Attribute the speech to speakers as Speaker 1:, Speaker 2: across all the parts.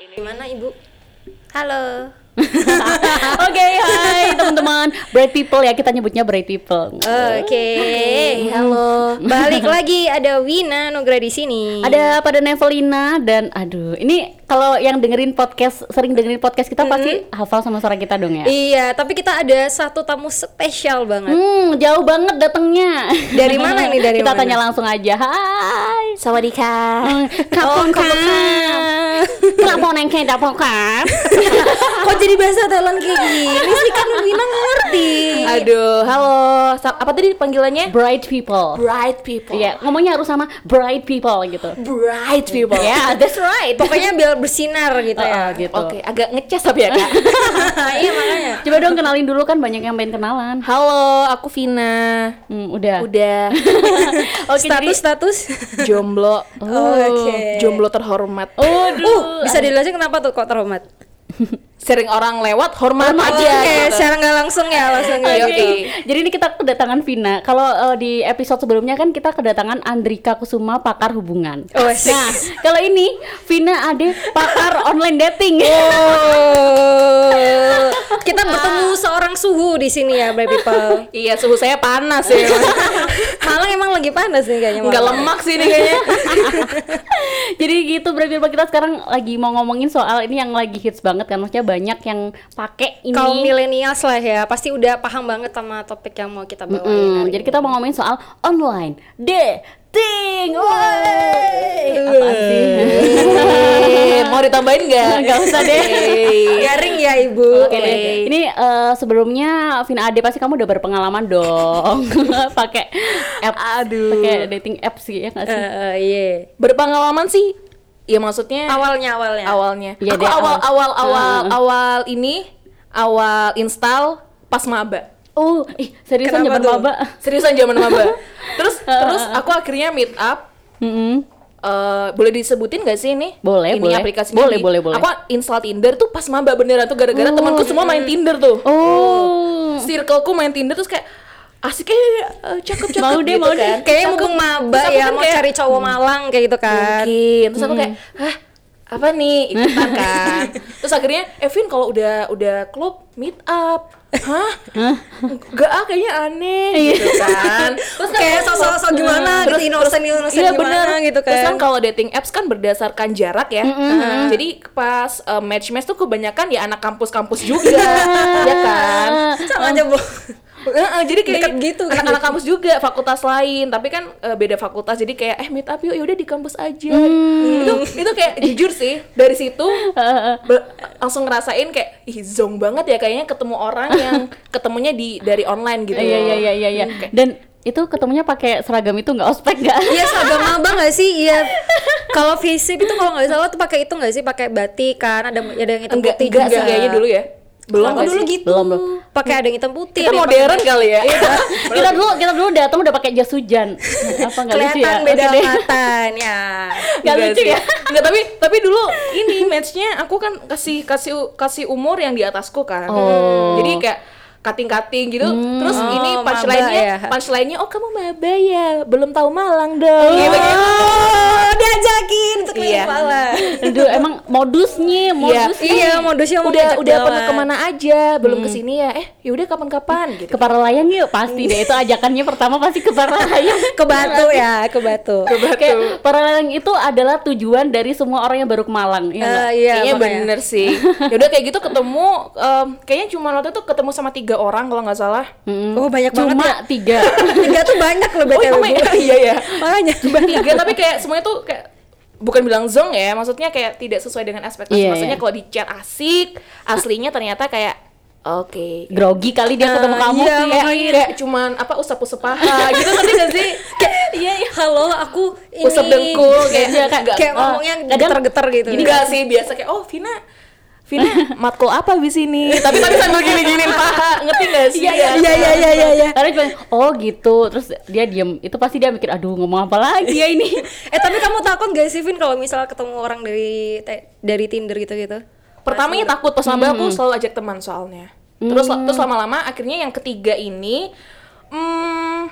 Speaker 1: ini gimana ibu halo
Speaker 2: Oke, hai teman-teman, bright people ya kita nyebutnya bright people.
Speaker 1: oke
Speaker 2: halo.
Speaker 1: balik lagi ada Wina Nugra di sini
Speaker 2: Ada pada Nevelina dan aduh, ini kalau yang dengerin podcast sering dengerin podcast kita pasti hafal sama suara kita dong ya.
Speaker 1: iya tapi kita ada satu tamu spesial banget
Speaker 2: Hmm, jauh banget datangnya.
Speaker 1: Dari mana nih, dari
Speaker 2: kita
Speaker 1: mana?
Speaker 2: tanya langsung aja. Hai. Hmm,
Speaker 3: Sawadika.
Speaker 2: Kapon
Speaker 1: kamu
Speaker 2: kan?
Speaker 1: kan.
Speaker 2: Kenapa nengke dapok kan?
Speaker 1: kok jadi bahasa Thailand kayak gini sih kan Wina ngerti
Speaker 3: Aduh, halo. Sa- Apa tadi panggilannya?
Speaker 2: Bright people.
Speaker 3: Bright people.
Speaker 2: Iya, ngomongnya harus sama bright people gitu.
Speaker 3: Bright people.
Speaker 2: Yeah, that's right.
Speaker 1: Iya, pokoknya biar bersinar gitu
Speaker 2: Oh,
Speaker 1: ya
Speaker 2: oh, gitu.
Speaker 3: Iya, Oke, agak ngecas tapi ya, Kak.
Speaker 2: Oh,
Speaker 1: iya makanya
Speaker 2: Coba dong kenalin dulu kan banyak yang pengen kenalan.
Speaker 3: halo, aku Vina.
Speaker 2: Hmm, udah.
Speaker 3: Iya. Udah
Speaker 2: Oke, jadi-
Speaker 1: status status
Speaker 3: jomblo. Oh,
Speaker 1: Oke.
Speaker 3: Jomblo terhormat.
Speaker 2: Waduh.
Speaker 1: uh bisa dijelasin kenapa tuh kok terhormat
Speaker 3: Sering orang lewat hormat
Speaker 1: Oke,
Speaker 3: aja. gitu.
Speaker 1: secara nggak langsung ya langsung
Speaker 2: Oke.
Speaker 1: gitu.
Speaker 2: Jadi ini kita kedatangan Vina. Kalau eh, di episode sebelumnya kan kita kedatangan Andrika Kusuma pakar hubungan.
Speaker 1: Oh, asik.
Speaker 2: nah, kalau ini Vina Ade pakar online dating.
Speaker 1: Oh, kita bertemu seorang suhu di sini ya, Brave People.
Speaker 3: Iya, suhu saya panas ya.
Speaker 1: Malang emang lagi panas nih kayaknya.
Speaker 3: Enggak
Speaker 1: malam.
Speaker 3: lemak sih ini kayaknya.
Speaker 2: Jadi gitu berarti kita sekarang lagi mau ngomongin soal ini yang lagi hits banget kan maksudnya banyak yang pakai ini.
Speaker 1: Kaum milenials lah ya, pasti udah paham banget sama topik yang mau kita bawain.
Speaker 2: Hmm,
Speaker 1: hari
Speaker 2: jadi
Speaker 1: ini.
Speaker 2: kita mau ngomongin soal online dating. Woi. Apaan sih?
Speaker 3: Eh, mau ditambahin enggak?
Speaker 2: Enggak usah deh.
Speaker 1: garing ya Ibu.
Speaker 2: Oke deh. Ini eh, sebelumnya Vina Ade pasti kamu udah berpengalaman dong pakai apps,
Speaker 3: Aduh.
Speaker 2: pakai dating apps sih ya nggak
Speaker 1: Eh,
Speaker 2: sih?
Speaker 1: eh, iya.
Speaker 3: Berpengalaman sih. Ya maksudnya
Speaker 1: Awalnya awalnya.
Speaker 3: awalnya.
Speaker 2: Iya
Speaker 3: aku
Speaker 2: deh,
Speaker 3: awal
Speaker 2: awal.
Speaker 3: awal awal awal ini awal install pas maba.
Speaker 2: Oh, ih seriusan
Speaker 1: Kenapa
Speaker 2: nyebar
Speaker 1: tuh?
Speaker 2: maba.
Speaker 3: Seriusan zaman maba. terus terus aku akhirnya meet up
Speaker 2: Mm-mm.
Speaker 3: Eh, boleh disebutin gak sih ini?
Speaker 2: Boleh,
Speaker 3: ini
Speaker 2: boleh.
Speaker 3: aplikasinya
Speaker 2: Boleh,
Speaker 3: di-
Speaker 2: boleh, boleh.
Speaker 3: Aku install Tinder tuh pas maba beneran tuh gara-gara temanku semua main Tinder tuh.
Speaker 2: Oh.
Speaker 3: Circleku main Tinder terus kayak asik eh eh, cakep cakep
Speaker 2: Mau deh,
Speaker 3: gitu
Speaker 2: mau deh.
Speaker 3: kan.
Speaker 1: Kayaknya
Speaker 3: Terus aku-
Speaker 1: mumpung maba
Speaker 3: terus aku
Speaker 1: ya
Speaker 3: kan
Speaker 1: mau
Speaker 3: kayak,
Speaker 1: cari cowok Malang kayak gitu kan.
Speaker 3: mungkin terus aku kayak hah apa nih ikutan kan terus akhirnya Evin kalau udah udah klub meet up hah gak ah kayaknya aneh gitu kan terus kan
Speaker 1: Iya. Kayak
Speaker 3: kalau-
Speaker 1: sosok-sosok gimana
Speaker 3: terus-
Speaker 1: gitu, innocent innocent
Speaker 3: iya
Speaker 1: gimana
Speaker 3: bener
Speaker 1: gitu
Speaker 3: terus
Speaker 1: kan.
Speaker 3: kan kalau dating apps kan berdasarkan jarak ya Nah, jadi pas eh, match match tuh kebanyakan ya anak kampus-kampus juga ya kan
Speaker 1: Sama aja bu.
Speaker 3: Heeh, jadi kayak
Speaker 1: Deket gitu kan.
Speaker 3: anak-anak kampus juga fakultas lain tapi kan eh, beda fakultas jadi kayak eh meet up yuk yaudah di kampus aja itu itu kayak jujur sih dari situ be- langsung ngerasain kayak ih zong banget ya kayaknya ketemu orang yang ketemunya di dari online gitu
Speaker 2: Iya iya iya iya iya. Dan itu ketemunya pakai seragam itu nggak ospek nggak?
Speaker 1: Iya seragam maba nggak sih? Iya. Kalau visip itu kalau nggak salah tuh pakai itu nggak sih? Pakai batik kan? Ada ada yang hitam
Speaker 3: enggak
Speaker 1: putih
Speaker 3: enggak sih
Speaker 1: juga.
Speaker 3: kayaknya dulu ya belum
Speaker 1: Aku
Speaker 3: nggak
Speaker 1: dulu
Speaker 3: sih?
Speaker 1: gitu.
Speaker 2: Belum, belum.
Speaker 1: Pakai ada yang hitam putih.
Speaker 3: kita
Speaker 1: ada yang
Speaker 3: modern
Speaker 1: pakai-
Speaker 3: kali ya
Speaker 2: kita dulu kita dulu datang udah pakai jas hujan.
Speaker 3: gitu
Speaker 2: Apa nggak lucu
Speaker 1: Kelihatan
Speaker 2: ya?
Speaker 1: beda
Speaker 2: Oke deh.
Speaker 1: kelihatan ya.
Speaker 2: Nggak lucu
Speaker 3: sih.
Speaker 2: ya?
Speaker 3: Nggak, tapi tapi dulu ini matchnya aku kan kasih kasih kasih umur yang di atasku kan.
Speaker 2: Oh.
Speaker 3: Jadi kayak kating-kating gitu. Terus
Speaker 1: Oh,
Speaker 3: ini punchline-nya
Speaker 1: maba ya.
Speaker 3: punchline-nya oh kamu maba ya, belum tahu Malang dong. Gitu, gitu.
Speaker 1: Oh, Iya, diajakin untuk
Speaker 3: Iya.
Speaker 1: keliling kepala.
Speaker 2: Aduh, emang modusnya,
Speaker 3: Iya.
Speaker 2: modusnya.
Speaker 1: Iya, Hmm. modusnya mau
Speaker 3: Udah
Speaker 1: ngajak
Speaker 3: udah pernah
Speaker 1: jalan.
Speaker 3: kemana aja, belum kesini ya. Eh, yaudah kapan-kapan
Speaker 1: Iya,
Speaker 3: gitu.
Speaker 2: Ke para layang yuk pasti deh itu ajakannya pertama pasti ke para layang.
Speaker 1: Ke Batu ya, ke Batu.
Speaker 2: Kayak para layang itu adalah tujuan dari semua orang yang baru ke Malang. Iya nggak?
Speaker 1: Eh, iya,
Speaker 3: kayaknya
Speaker 1: makanya.
Speaker 3: bener sih. Yaudah kayak gitu ketemu, em, kayaknya cuma waktu itu ketemu sama tiga orang kalau nggak salah.
Speaker 2: Mm-mm.
Speaker 1: Oh, banyak banget
Speaker 2: Cuma
Speaker 1: ya.
Speaker 2: tiga.
Speaker 1: Tiga tuh banyak loh
Speaker 3: Oh,
Speaker 1: BTW.
Speaker 3: emang
Speaker 1: Bu.
Speaker 3: ya? iya ya.
Speaker 1: Makanya
Speaker 3: cuma tiga tapi kayak semuanya tuh kayak bukan bilang zong ya maksudnya kayak tidak sesuai dengan ekspektasi
Speaker 2: Iya,
Speaker 3: maksudnya
Speaker 2: iya.
Speaker 3: kalau di chat asik aslinya ternyata kayak oke
Speaker 2: Grogi kali dia
Speaker 3: Ah,
Speaker 2: ketemu
Speaker 1: Eh,
Speaker 2: kamu
Speaker 1: iya,
Speaker 2: sih.
Speaker 3: kayak, kayak cuman apa usap-usap paha gitu ngerti gak sih kayak
Speaker 1: Iya, iya. halo aku ini.
Speaker 3: usap dengkul kayak
Speaker 2: Iya, kayak-
Speaker 3: nggak-
Speaker 1: Kayak
Speaker 2: Oh,
Speaker 1: ngomongnya
Speaker 2: kadang-
Speaker 1: getar-getar gitu.
Speaker 3: enggak sih biasa kayak oh Vina Vina matkul apa di sini tapi tapi sambil gini-giniin paha ngerti gak sih
Speaker 1: Iya, iya, iya, iya, iya, iya, iya.
Speaker 2: Karena cuma oh gitu, terus dia diem. Itu pasti dia mikir, aduh ngomong apa lagi ya ini.
Speaker 1: eh tapi kamu takut gak sih Vin kalau misal ketemu orang dari te- dari Tinder gitu-gitu?
Speaker 3: pertamanya ya takut pas maba aku selalu ajak teman
Speaker 2: Mm.
Speaker 3: soalnya terus terus lama-lama akhirnya yang ketiga ini hmm,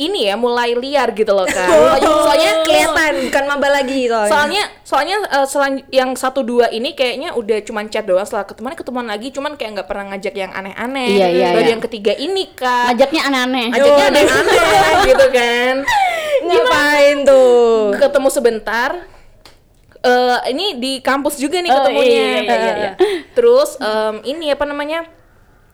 Speaker 3: ini ya mulai liar gitu loh kan.
Speaker 1: soalnya
Speaker 2: Oh.
Speaker 3: Soalnya
Speaker 1: kelihatan bukan maba lagi Oh. soalnya.
Speaker 3: soalnya soalnya eh, selan- yang satu dua ini kayaknya udah cuman chat doang setelah ketemuan ketemuan lagi cuman kayak nggak pernah ngajak yang aneh-aneh
Speaker 2: Iya, iya,
Speaker 3: baru
Speaker 2: iya.
Speaker 3: yang ketiga ini
Speaker 1: Iya.
Speaker 3: kak
Speaker 2: Ajaknya aneh-aneh.
Speaker 3: ajaknya aneh-aneh gitu kan
Speaker 1: ngapain tuh?
Speaker 3: ketemu sebentar eh ini di kampus juga nih
Speaker 2: Oh,
Speaker 3: ketemunya Eh,
Speaker 2: iya, iya, iya, iya.
Speaker 3: terus em, ini apa namanya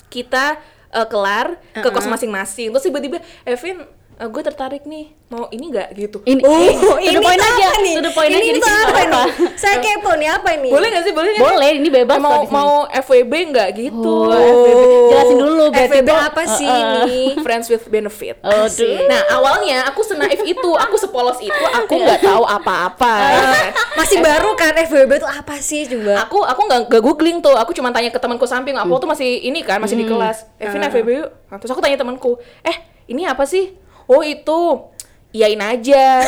Speaker 3: kita eh, kelar ke kos masing-masing terus tiba-tiba Evin eh, gue tertarik nih mau ini nggak gitu
Speaker 2: Ini,
Speaker 1: Oh,
Speaker 2: ini, to the point
Speaker 1: tuh
Speaker 2: aja,
Speaker 1: apa nih?
Speaker 2: to the point
Speaker 1: ini
Speaker 2: aja di
Speaker 1: tuh
Speaker 2: sini
Speaker 1: apa
Speaker 2: nggak
Speaker 1: nih?
Speaker 2: apa-apa.
Speaker 1: Saya kepo nih apa ini?
Speaker 3: boleh nggak sih boleh nggak?
Speaker 2: Boleh, ini bebas kok
Speaker 3: mau
Speaker 2: di sini.
Speaker 3: mau FWB nggak gitu
Speaker 2: Oh,
Speaker 1: eh,
Speaker 2: FWB. Jelasin dulu berarti
Speaker 1: FWB
Speaker 2: tuh-
Speaker 1: apa sih
Speaker 2: Uh-uh.
Speaker 1: ini?
Speaker 3: friends with benefit
Speaker 2: Aduh.
Speaker 3: nah awalnya aku senaif itu aku sepolos itu aku
Speaker 2: Iya.
Speaker 3: nggak tahu apa-apa
Speaker 2: Ah.
Speaker 1: Eh,
Speaker 3: Nah,
Speaker 1: Masih baru kan FWB tuh apa sih coba?
Speaker 3: aku aku nggak nggak googling tuh aku cuma tanya ke temanku samping aku tuh masih ini kan masih di kelas Evin FWB yuk Nah, terus aku tanya temanku eh ini apa sih oh itu iyain aja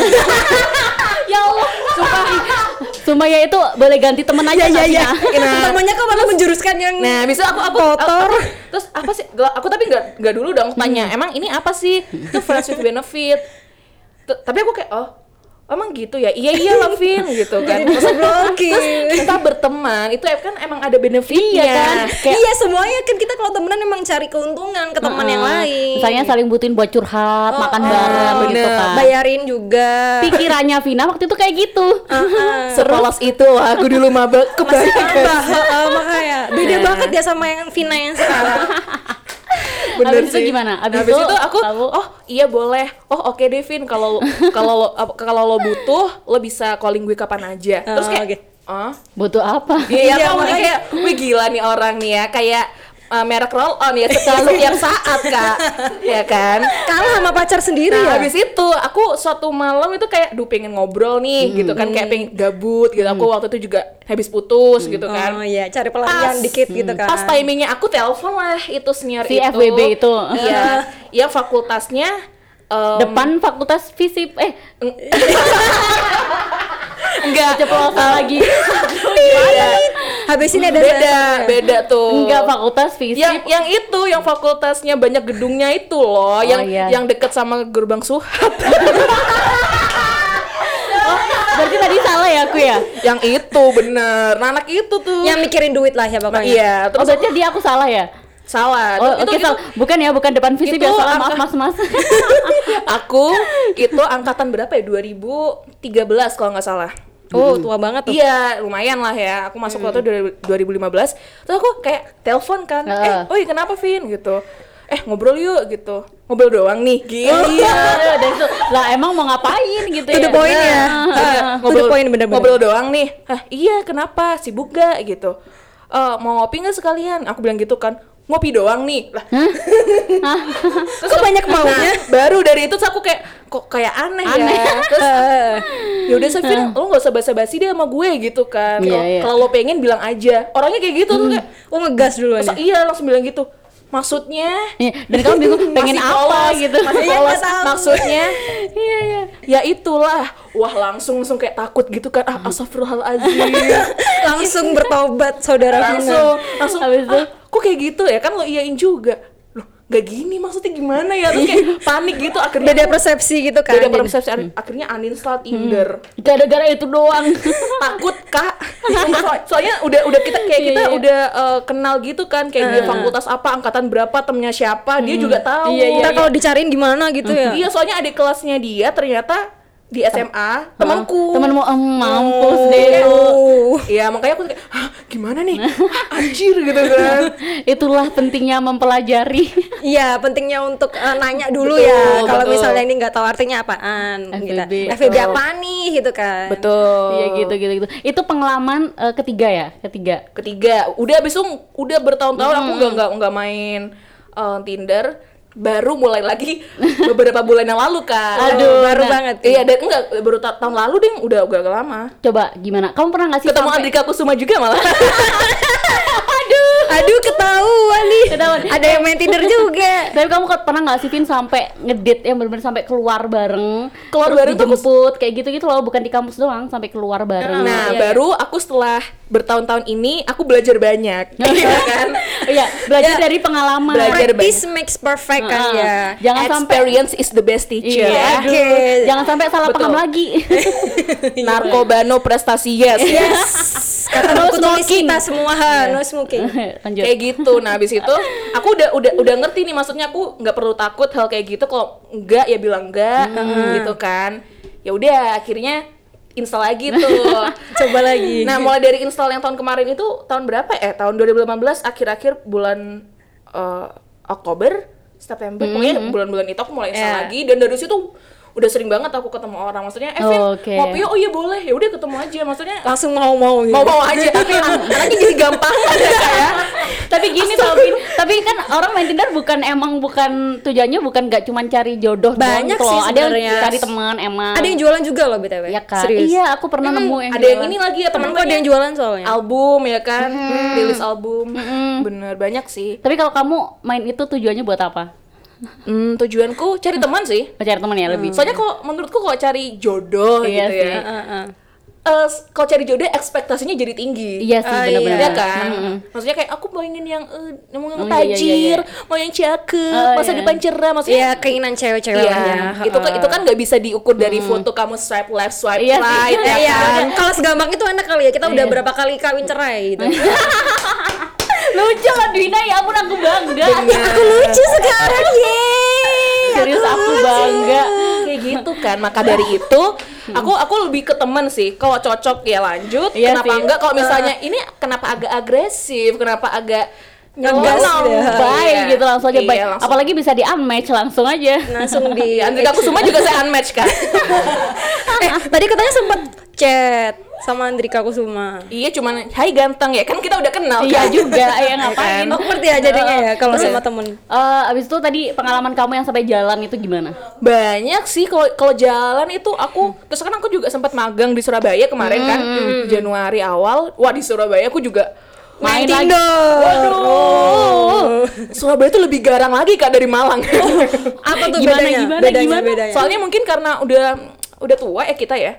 Speaker 2: Ya Allah, sumpah. Sumpah ya itu boleh ganti temen aja
Speaker 1: iya.
Speaker 2: tapi
Speaker 1: Nah, Temannya kok malah menjuruskan yang
Speaker 3: Nah, bisa aku aku
Speaker 1: Kotor.
Speaker 3: aku- terus apa sih? Gua- Aku tapi nggak nggak dulu dong tanya. Emang ini apa sih? Itu friends with benefit. T- tapi aku kayak oh emang gitu ya iya iya lah Vin gitu kan
Speaker 1: Jadi
Speaker 3: Terus
Speaker 1: blokir.
Speaker 3: kita berteman itu kan emang ada
Speaker 2: Iya
Speaker 3: benefitnya
Speaker 2: kan? kayak-
Speaker 1: iya semuanya kan kita kalau temenan emang cari keuntungan ke teman yang lain.
Speaker 2: Misalnya saling butuhin buat
Speaker 3: Oh,
Speaker 2: curhat, makan bareng gitu
Speaker 3: bener.
Speaker 2: kan.
Speaker 1: Oh, bayarin juga. Uh-uh.
Speaker 2: Pikirannya Vina waktu itu kayak gitu.
Speaker 3: sepolos itu lah aku dulu mabek
Speaker 1: Masih
Speaker 3: kebayang
Speaker 1: apa? Heeh, uh, makanya beda
Speaker 3: Iya.
Speaker 1: banget ya sama yang Vina yang sekarang.
Speaker 2: Abis itu gimana? Abis
Speaker 3: Habis
Speaker 2: itu
Speaker 3: itu, aku
Speaker 2: kamu-
Speaker 3: oh iya boleh. Oh oke deh Devin kalau kalau lo- ap- kalau lo butuh lo bisa calling gue kapan aja.
Speaker 2: Ah,
Speaker 3: Terus
Speaker 1: Oh,
Speaker 3: kayak
Speaker 1: oke.
Speaker 3: oh
Speaker 2: Butuh apa?
Speaker 3: Iya,
Speaker 1: Iya,
Speaker 3: iya, kamu nih
Speaker 1: makanya.
Speaker 3: kayak, wih gila nih orang nih ya, kayak uh, merek roll on ya selalu tiap saat kak, ya kan.
Speaker 1: Kalah sama pacar
Speaker 2: Iya.
Speaker 1: sendiri
Speaker 3: Nah,
Speaker 1: ya.
Speaker 3: habis itu aku suatu malam itu kayak, duh pengen ngobrol nih gitu kan, kayak pengen gabut gitu. Aku waktu itu juga habis putus gitu kan.
Speaker 1: Oh iya, cari pelarian
Speaker 3: Pas. Hmm.
Speaker 1: dikit gitu kan.
Speaker 3: Pas timingnya aku telepon lah itu senior
Speaker 2: Si
Speaker 3: itu.
Speaker 2: FWB itu.
Speaker 3: Iya, yang fakultasnya um,
Speaker 2: Depan fakultas fisip eh
Speaker 3: enggak
Speaker 2: keceplosan lagi.
Speaker 3: Gitu. beda,
Speaker 1: Habis ini ada
Speaker 3: beda, beda tuh.
Speaker 2: Enggak fakultas fisip.
Speaker 3: yang yang itu yang fakultasnya banyak gedungnya itu loh yang
Speaker 2: iya.
Speaker 3: yang deket sama gerbang Suhat
Speaker 2: Berarti tadi salah ya aku ya?
Speaker 3: yang itu bener nah, anak itu tuh
Speaker 1: yang mikirin duit lah ya
Speaker 3: Nah,
Speaker 1: pokoknya.
Speaker 3: iya
Speaker 2: Oh
Speaker 3: terus
Speaker 2: berarti dia aku salah ya?
Speaker 3: salah
Speaker 2: Oh oke
Speaker 3: itu, itu
Speaker 2: salah. Bukan ya, bukan depan fisip
Speaker 3: Itu
Speaker 2: ya salah.
Speaker 3: angka-
Speaker 2: Maaf mas mas.
Speaker 3: aku itu angkatan berapa ya 2013 kalau nggak salah
Speaker 1: Oh, tua banget tuh.
Speaker 3: Iya, lumayan lah ya. Aku masuk waktu itu 2015. Terus aku kayak telepon kan, eh,
Speaker 2: Heeh.
Speaker 3: oi kenapa Vin gitu. Eh, ngobrol yuk gitu. Ngobrol doang nih. Gitu.
Speaker 2: Iya. dan itu, lah emang mau ngapain
Speaker 1: To
Speaker 2: gitu
Speaker 1: the
Speaker 2: ya?
Speaker 1: point ya.
Speaker 2: Nah,
Speaker 1: Ah,
Speaker 3: Iya,
Speaker 1: ah. To the point, bener-bener.
Speaker 3: ngobrol doang nih Hah, iya kenapa sibuk gak gitu Eh, mau ngopi nggak sekalian aku bilang gitu kan ngopi doang nih lah
Speaker 1: Terus kok banyak maunya?
Speaker 3: nah, baru dari itu terus aku kayak kok kayak aneh,
Speaker 2: Aneh.
Speaker 3: ya terus ya udah Safir lo nggak usah basa-basi deh sama gue gitu kan
Speaker 2: Iya,
Speaker 3: Kalau-
Speaker 2: iya.
Speaker 3: kalau lo pengen bilang aja orangnya kayak gitu tuh kayak
Speaker 1: oh, ngegas duluan.
Speaker 3: masa- iya langsung bilang gitu maksudnya
Speaker 2: Iya, dan kamu bingung pengen
Speaker 3: Masih
Speaker 2: apa
Speaker 3: polos,
Speaker 2: gitu.
Speaker 3: masih
Speaker 1: Iya,
Speaker 3: polos.
Speaker 1: nggak tahu.
Speaker 3: maksudnya
Speaker 2: Iya iya.
Speaker 3: ya itulah wah langsung langsung kayak takut gitu kan
Speaker 2: Hmm.
Speaker 3: ah
Speaker 2: Iya,
Speaker 3: astagfirullahaladzim
Speaker 1: Langsung bertobat saudara Vina.
Speaker 3: langsung langsung
Speaker 2: Habis itu?
Speaker 3: "Ah, kok kayak gitu ya kan lo iyain juga loh nggak gini maksudnya gimana ya terus kayak panik gitu akhirnya
Speaker 1: Beda persepsi gitu kan.
Speaker 3: beda persepsi
Speaker 2: Hmm.
Speaker 3: akhirnya uninstall Tinder
Speaker 2: Gara-gara itu doang.
Speaker 3: takut kak So- soalnya udah udah kita kayak kita
Speaker 2: Iya, iya.
Speaker 3: udah eh, kenal gitu kan kayak dia fakultas apa angkatan berapa temennya siapa dia juga tahu
Speaker 2: Iya, iya,
Speaker 1: Ntar kalau dicariin gimana gitu ya.
Speaker 3: Iya, soalnya adik kelasnya dia ternyata di SMA temanku
Speaker 2: Temen mau em, Oh, mampus deh. lu.
Speaker 1: Oh.
Speaker 3: kan. Iya makanya aku kayak Hah, gimana nih Hah, anjir gitu kan
Speaker 2: Itulah pentingnya mempelajari.
Speaker 1: Iya, pentingnya untuk eh, nanya dulu
Speaker 3: Betul,
Speaker 1: ya. Kalau
Speaker 3: betul.
Speaker 1: misalnya ini nggak tahu artinya apaan, gitu.
Speaker 2: FBB.
Speaker 1: FBB
Speaker 3: Betul.
Speaker 1: apaan nih, gitu kan.
Speaker 3: betul
Speaker 2: Iya gitu gitu gitu. Itu pengalaman eh, ketiga ya, ketiga.
Speaker 3: ketiga udah abis itu udah bertahun-tahun aku
Speaker 1: Hmm.
Speaker 3: nggak nggak nggak main eh, Tinder baru mulai lagi beberapa bulan yang lalu kan
Speaker 1: Aduh, baru banget.
Speaker 3: iya dan enggak baru ta- tahun lalu deh udah udah agak lama
Speaker 2: Coba gimana? Kamu pernah nggak sih
Speaker 3: ketemu
Speaker 2: sampai-
Speaker 3: Andrika Kusuma juga malah
Speaker 1: Aduh ketahuan nih.
Speaker 2: Ketahuan.
Speaker 1: Ada yang main Tinder juga.
Speaker 2: Tapi kamu kok- pernah nggak sih Vin sampai ngedit yang benar-benar sampai keluar bareng,
Speaker 3: Keluar
Speaker 2: terus
Speaker 3: bareng tuh aku-
Speaker 2: dijemput kayak gitu-gitu loh, bukan di kampus doang sampai keluar bareng.
Speaker 1: Iya,
Speaker 3: Nah, baru aku setelah bertahun-tahun ini aku belajar banyak. Iya kan?
Speaker 2: Nah. Iya, belajar
Speaker 3: Ya,
Speaker 2: dari pengalaman.
Speaker 3: belajar
Speaker 1: Practice makes perfect kan
Speaker 2: Heeh.
Speaker 1: ya.
Speaker 2: Jangan sampai
Speaker 3: Experience is the best teacher.
Speaker 2: Iya,
Speaker 1: Oke.
Speaker 2: aduh. Jangan sampai salah
Speaker 3: Betul.
Speaker 2: paham lagi.
Speaker 3: Narkoba no prestasi yes.
Speaker 1: Yes. Kata
Speaker 2: No
Speaker 1: buku tulis
Speaker 2: smoking.
Speaker 1: kita semua ha, no smoking.
Speaker 2: Lanjut.
Speaker 3: kayak gitu. Nah, habis itu aku udah udah udah ngerti nih maksudnya aku nggak perlu takut hal kayak gitu kalau enggak ya bilang enggak gitu kan. Ya udah akhirnya install lagi tuh.
Speaker 1: Coba lagi.
Speaker 3: nah, mulai dari install yang tahun kemarin itu tahun berapa? Eh, tahun 2018 akhir-akhir bulan eh, Oktober, September, pokoknya bulan-bulan itu aku mulai install
Speaker 1: Iya.
Speaker 3: lagi dan dari situ udah sering banget aku ketemu orang maksudnya eh Vin,
Speaker 2: Oke.
Speaker 3: ngopi yuk? oh iya boleh ya udah ketemu aja maksudnya
Speaker 1: Langsung mau-mau
Speaker 2: Iya.
Speaker 1: gitu.
Speaker 3: mau mau aja tapi anaknya jadi gampang ya
Speaker 2: tapi gini tau Vin, tapi kan orang main Tinder bukan emang bukan tujuannya bukan gak cuman cari jodoh doang
Speaker 1: Banyak
Speaker 2: gitu loh.
Speaker 1: sih
Speaker 2: Ada yang
Speaker 1: sebenarnya.
Speaker 2: cari teman emang.
Speaker 1: Ada yang jualan juga loh BTW.
Speaker 2: Iya kan?
Speaker 1: Serius.
Speaker 2: Iya, aku pernah nemu yang kan.
Speaker 3: ada yang
Speaker 2: jualan.
Speaker 3: ini lagi ya temen
Speaker 1: Temanku ada yang jualan soalnya.
Speaker 3: album ya kan
Speaker 2: Mm-hmm.
Speaker 3: rilis album bener banyak sih
Speaker 2: Tapi kalau kamu main itu tujuannya buat apa?
Speaker 3: Hmm, tujuanku cari teman sih
Speaker 2: Mau Cari teman ya
Speaker 1: Hmm.
Speaker 2: lebih.
Speaker 3: soalnya kalau menurutku kalau cari jodoh
Speaker 2: Iya
Speaker 3: gitu
Speaker 2: sih.
Speaker 3: ya
Speaker 1: Heeh, heeh.
Speaker 3: eh, kalau cari jodoh ekspektasinya jadi tinggi
Speaker 2: Iya sih
Speaker 1: Ah,
Speaker 2: benar-benar.
Speaker 3: Iya kan? Maksudnya kayak aku mau ingin yang eh, mau yang
Speaker 2: Oh, iya, iya, iya,
Speaker 3: tajir, mau yang cakep,
Speaker 2: Oh,
Speaker 3: masa
Speaker 2: iya.
Speaker 3: depan cerah, maksudnya
Speaker 1: Iya, keinginan cewek-cewek
Speaker 3: Iya,
Speaker 1: lah ya.
Speaker 3: itu kan itu kan nggak bisa diukur dari foto kamu swipe left swipe
Speaker 2: Mm-hmm. Iya sih.
Speaker 3: right
Speaker 1: Iya,
Speaker 3: ya
Speaker 1: iya.
Speaker 3: kan.
Speaker 1: Kalau segampang itu enak kali ya. Kita udah berapa kali kawin cerai gitu.
Speaker 2: Lucu lah Dina ya ampun aku bangga.
Speaker 1: Aku lucu sekarang, yeay.
Speaker 2: Serius aku bangga.
Speaker 3: Kayak gitu kan. Maka dari itu aku aku lebih ke temen sih. Kalau cocok ya lanjut.
Speaker 2: Iya
Speaker 3: kenapa
Speaker 2: sih.
Speaker 3: enggak? Kalau misalnya ini kenapa agak agresif? Kenapa agak
Speaker 1: Ngegas
Speaker 3: nyelonong?
Speaker 1: ya.
Speaker 2: Bye
Speaker 3: Iya.
Speaker 2: gitu langsung aja
Speaker 3: Iya,
Speaker 2: bye.
Speaker 3: langsung.
Speaker 2: Apalagi bisa di unmatch langsung aja.
Speaker 1: Langsung di
Speaker 3: Iya, Andrika aku semua juga saya unmatch kan.
Speaker 1: Eh, tadi katanya sempet chat sama Andrika Kusuma.
Speaker 3: iya, cuman hai ganteng ya. Kan kita udah kenal
Speaker 2: Iya
Speaker 3: kan.
Speaker 2: juga ya ngapain.
Speaker 1: Oh, ngerti ya jadinya ya kalau sama temen.
Speaker 2: Eh, abis itu tadi pengalaman kamu yang sampai jalan itu gimana?
Speaker 3: banyak sih kalau kalau jalan itu aku terus kan aku juga sempat magang di Surabaya kemarin kan Januari awal wah di Surabaya aku juga
Speaker 2: Main lagi.
Speaker 1: Tinder.
Speaker 3: waduh Surabaya itu lebih garang lagi kak dari Malang
Speaker 1: Apa tuh
Speaker 2: Gimana,
Speaker 1: bedanya?
Speaker 2: gimana,
Speaker 1: bedanya,
Speaker 2: gimana?
Speaker 1: bedanya.
Speaker 3: soalnya mungkin karena udah udah tua ya kita ya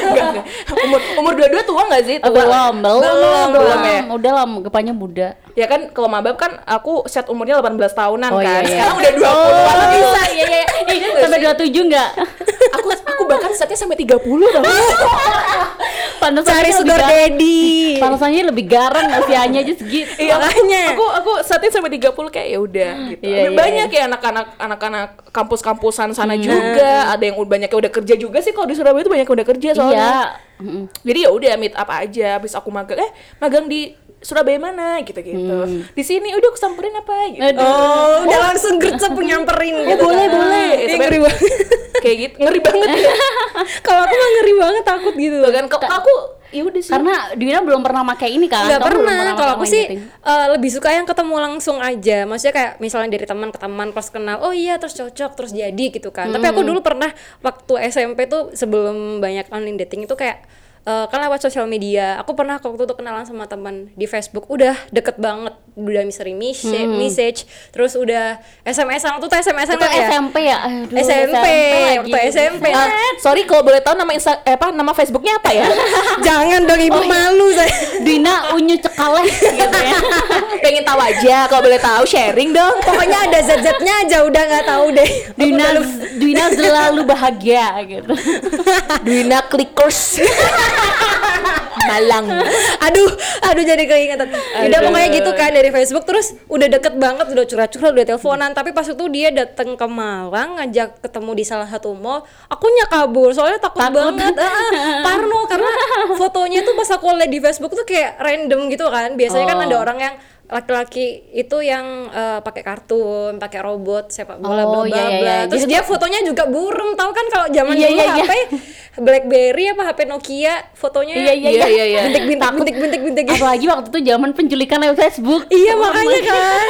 Speaker 3: Enggak, enggak. umur umur dua-dua tua nggak sih
Speaker 2: Eh,
Speaker 3: tua
Speaker 2: belum, belum,
Speaker 3: belum, belum ya
Speaker 2: Udah lah, gepanya muda.
Speaker 3: ya kan kalau mabab kan aku set umurnya 18 tahunan
Speaker 2: Oh, iya,
Speaker 3: kan
Speaker 2: iya.
Speaker 3: sekarang udah 20 an lebih.
Speaker 2: bisa, iya iya. iya. Eh, sampai 27 enggak?
Speaker 3: aku aku bahkan setnya sampai 30 tau
Speaker 2: Pantesan
Speaker 1: Cari
Speaker 2: aja lebih
Speaker 1: sugar
Speaker 2: gar-
Speaker 1: daddy.
Speaker 2: Pantesannya lebih garang usianya aja segitu.
Speaker 3: Iya,
Speaker 1: Makanya.
Speaker 3: Aku aku saatnya sampai 30 kayak ya udah gitu.
Speaker 2: Iya,
Speaker 3: Dan
Speaker 2: iya, Hmm.
Speaker 3: banyak ya anak-anak anak-anak kampus-kampusan sana juga, ada yang ud- banyak yang udah kerja juga sih kalau di Surabaya itu banyak yang udah kerja soalnya.
Speaker 2: Iya. Mm-mm.
Speaker 3: Jadi ya udah meet up aja habis aku magang. Eh, magang di Surabaya mana gitu-gitu. Di sini udah aku samperin apa gitu.
Speaker 2: Hmm. Aduh.
Speaker 1: Oh, udah langsung gercep nyamperin
Speaker 3: Oh,
Speaker 1: gitu.
Speaker 3: boleh,
Speaker 1: kan.
Speaker 3: boleh.
Speaker 1: Ih,
Speaker 3: Itu
Speaker 1: ngeri
Speaker 3: kan-
Speaker 1: banget.
Speaker 3: Kayak gitu, ngeri banget ya.
Speaker 1: Kalau aku mah ngeri banget takut gitu.
Speaker 3: Tuh kan kalau aku ya udah sih.
Speaker 2: Karena Dina belum pernah pakai ini kan?
Speaker 1: nggak
Speaker 2: Kamu belum
Speaker 1: pernah kalau
Speaker 2: pakai
Speaker 1: aku
Speaker 2: online
Speaker 1: sih
Speaker 2: dating.
Speaker 1: eh, lebih suka yang ketemu langsung aja maksudnya kayak misalnya dari teman ke teman pas kenal oh iya terus cocok terus jadi gitu kan tapi aku dulu pernah waktu SMP tuh sebelum banyak online dating itu kayak eh, kan lewat sosial media aku pernah waktu itu kenalan sama teman di Facebook udah deket banget udah misteri message, message terus udah SMS-an tuh SMS-an
Speaker 2: Itu
Speaker 1: lah ya
Speaker 2: SMP ya? Aduh,
Speaker 1: SMP,
Speaker 2: lagi. Gitu
Speaker 1: waktu SMP
Speaker 3: Eh, sorry kalau boleh tahu nama Insta eh, apa nama Facebooknya apa ya?
Speaker 1: jangan dong ibu malu saya
Speaker 2: Dina ya. unyu cekaleh gitu ya.
Speaker 3: Pengen tahu aja kalau boleh tahu sharing dong.
Speaker 1: pokoknya ada zat-zatnya aja udah nggak tahu deh
Speaker 2: Dina, Dina selalu bahagia gitu.
Speaker 3: Duina Clickers Malang
Speaker 1: aduh aduh jadi keingetan udah pokoknya gitu kan dari Facebook terus udah deket banget udah curhat-curhat udah teleponan tapi pas itu dia datang ke Malang ngajak ketemu di salah satu mall akunya kabur soalnya takut,
Speaker 2: Takut.
Speaker 1: banget Ah, parno karena fotonya tuh pas aku lihat di Facebook tuh kayak random gitu kan biasanya kan
Speaker 2: Oh.
Speaker 1: ada orang yang laki-laki itu yang eh, pakai kartun, pakai robot sepak bola bla
Speaker 2: Oh,
Speaker 1: bla
Speaker 2: iya, iya,
Speaker 1: bla.
Speaker 2: iya.
Speaker 1: Terus
Speaker 2: Jadi
Speaker 1: dia fotonya juga burem, tahu kan kalau zaman
Speaker 2: Iya,
Speaker 1: dulu
Speaker 2: iya, iya.
Speaker 1: HP BlackBerry apa HP Nokia fotonya
Speaker 2: Iya, iya,
Speaker 3: Iya, iya, iya.
Speaker 1: bintik bintik bintik bintik bintik
Speaker 2: Apalagi waktu itu zaman penculikan lewat Facebook.
Speaker 1: iya makanya Iya, kan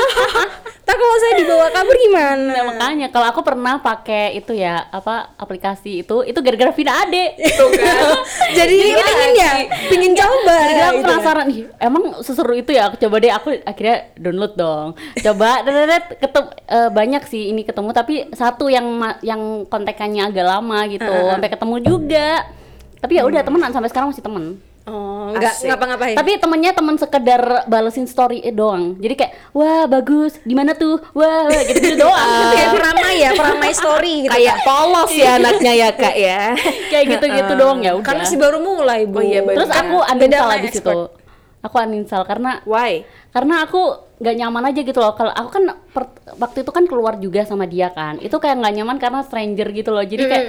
Speaker 1: kita kalau saya dibawa kabur gimana
Speaker 2: Nah, makanya kalau aku pernah pakai itu ya apa aplikasi itu itu gara-gara Vina Ade.
Speaker 3: Tuh kan.
Speaker 1: jadi kita ingin ya pingin coba
Speaker 2: Gara-gara aku
Speaker 1: gitu.
Speaker 2: penasaran ih, emang seseru itu ya aku coba deh aku akhirnya download dong. Coba deret ketemu eh, banyak sih ini ketemu tapi satu yang ma- yang kontekannya agak lama gitu sampai ketemu juga. Tapi ya udah temenan sampai sekarang masih temen.
Speaker 1: oh nggak
Speaker 3: Asik.
Speaker 1: ngapa-ngapain
Speaker 2: Tapi temennya temen sekedar balesin story eh, doang. Jadi kayak wah bagus, gimana tuh? Wah, wah," gitu-gitu doang.
Speaker 1: kayak peramai ya peramai story gitu
Speaker 3: Kayak polos ya anaknya ya kak ya.
Speaker 2: kayak gitu-gitu doang ya udah.
Speaker 1: karena masih baru mulai bu
Speaker 3: Oh iya, baru
Speaker 2: Terus
Speaker 3: Beda-
Speaker 2: aku
Speaker 1: beda
Speaker 2: uninstall
Speaker 1: sama
Speaker 2: abis itu.
Speaker 1: expert.
Speaker 2: Aku uninstall karena
Speaker 3: Why?
Speaker 2: karena aku nggak nyaman aja gitu loh. Kalau aku kan per- waktu itu kan keluar juga sama dia kan. Itu kayak nggak nyaman karena stranger gitu loh. Jadi kayak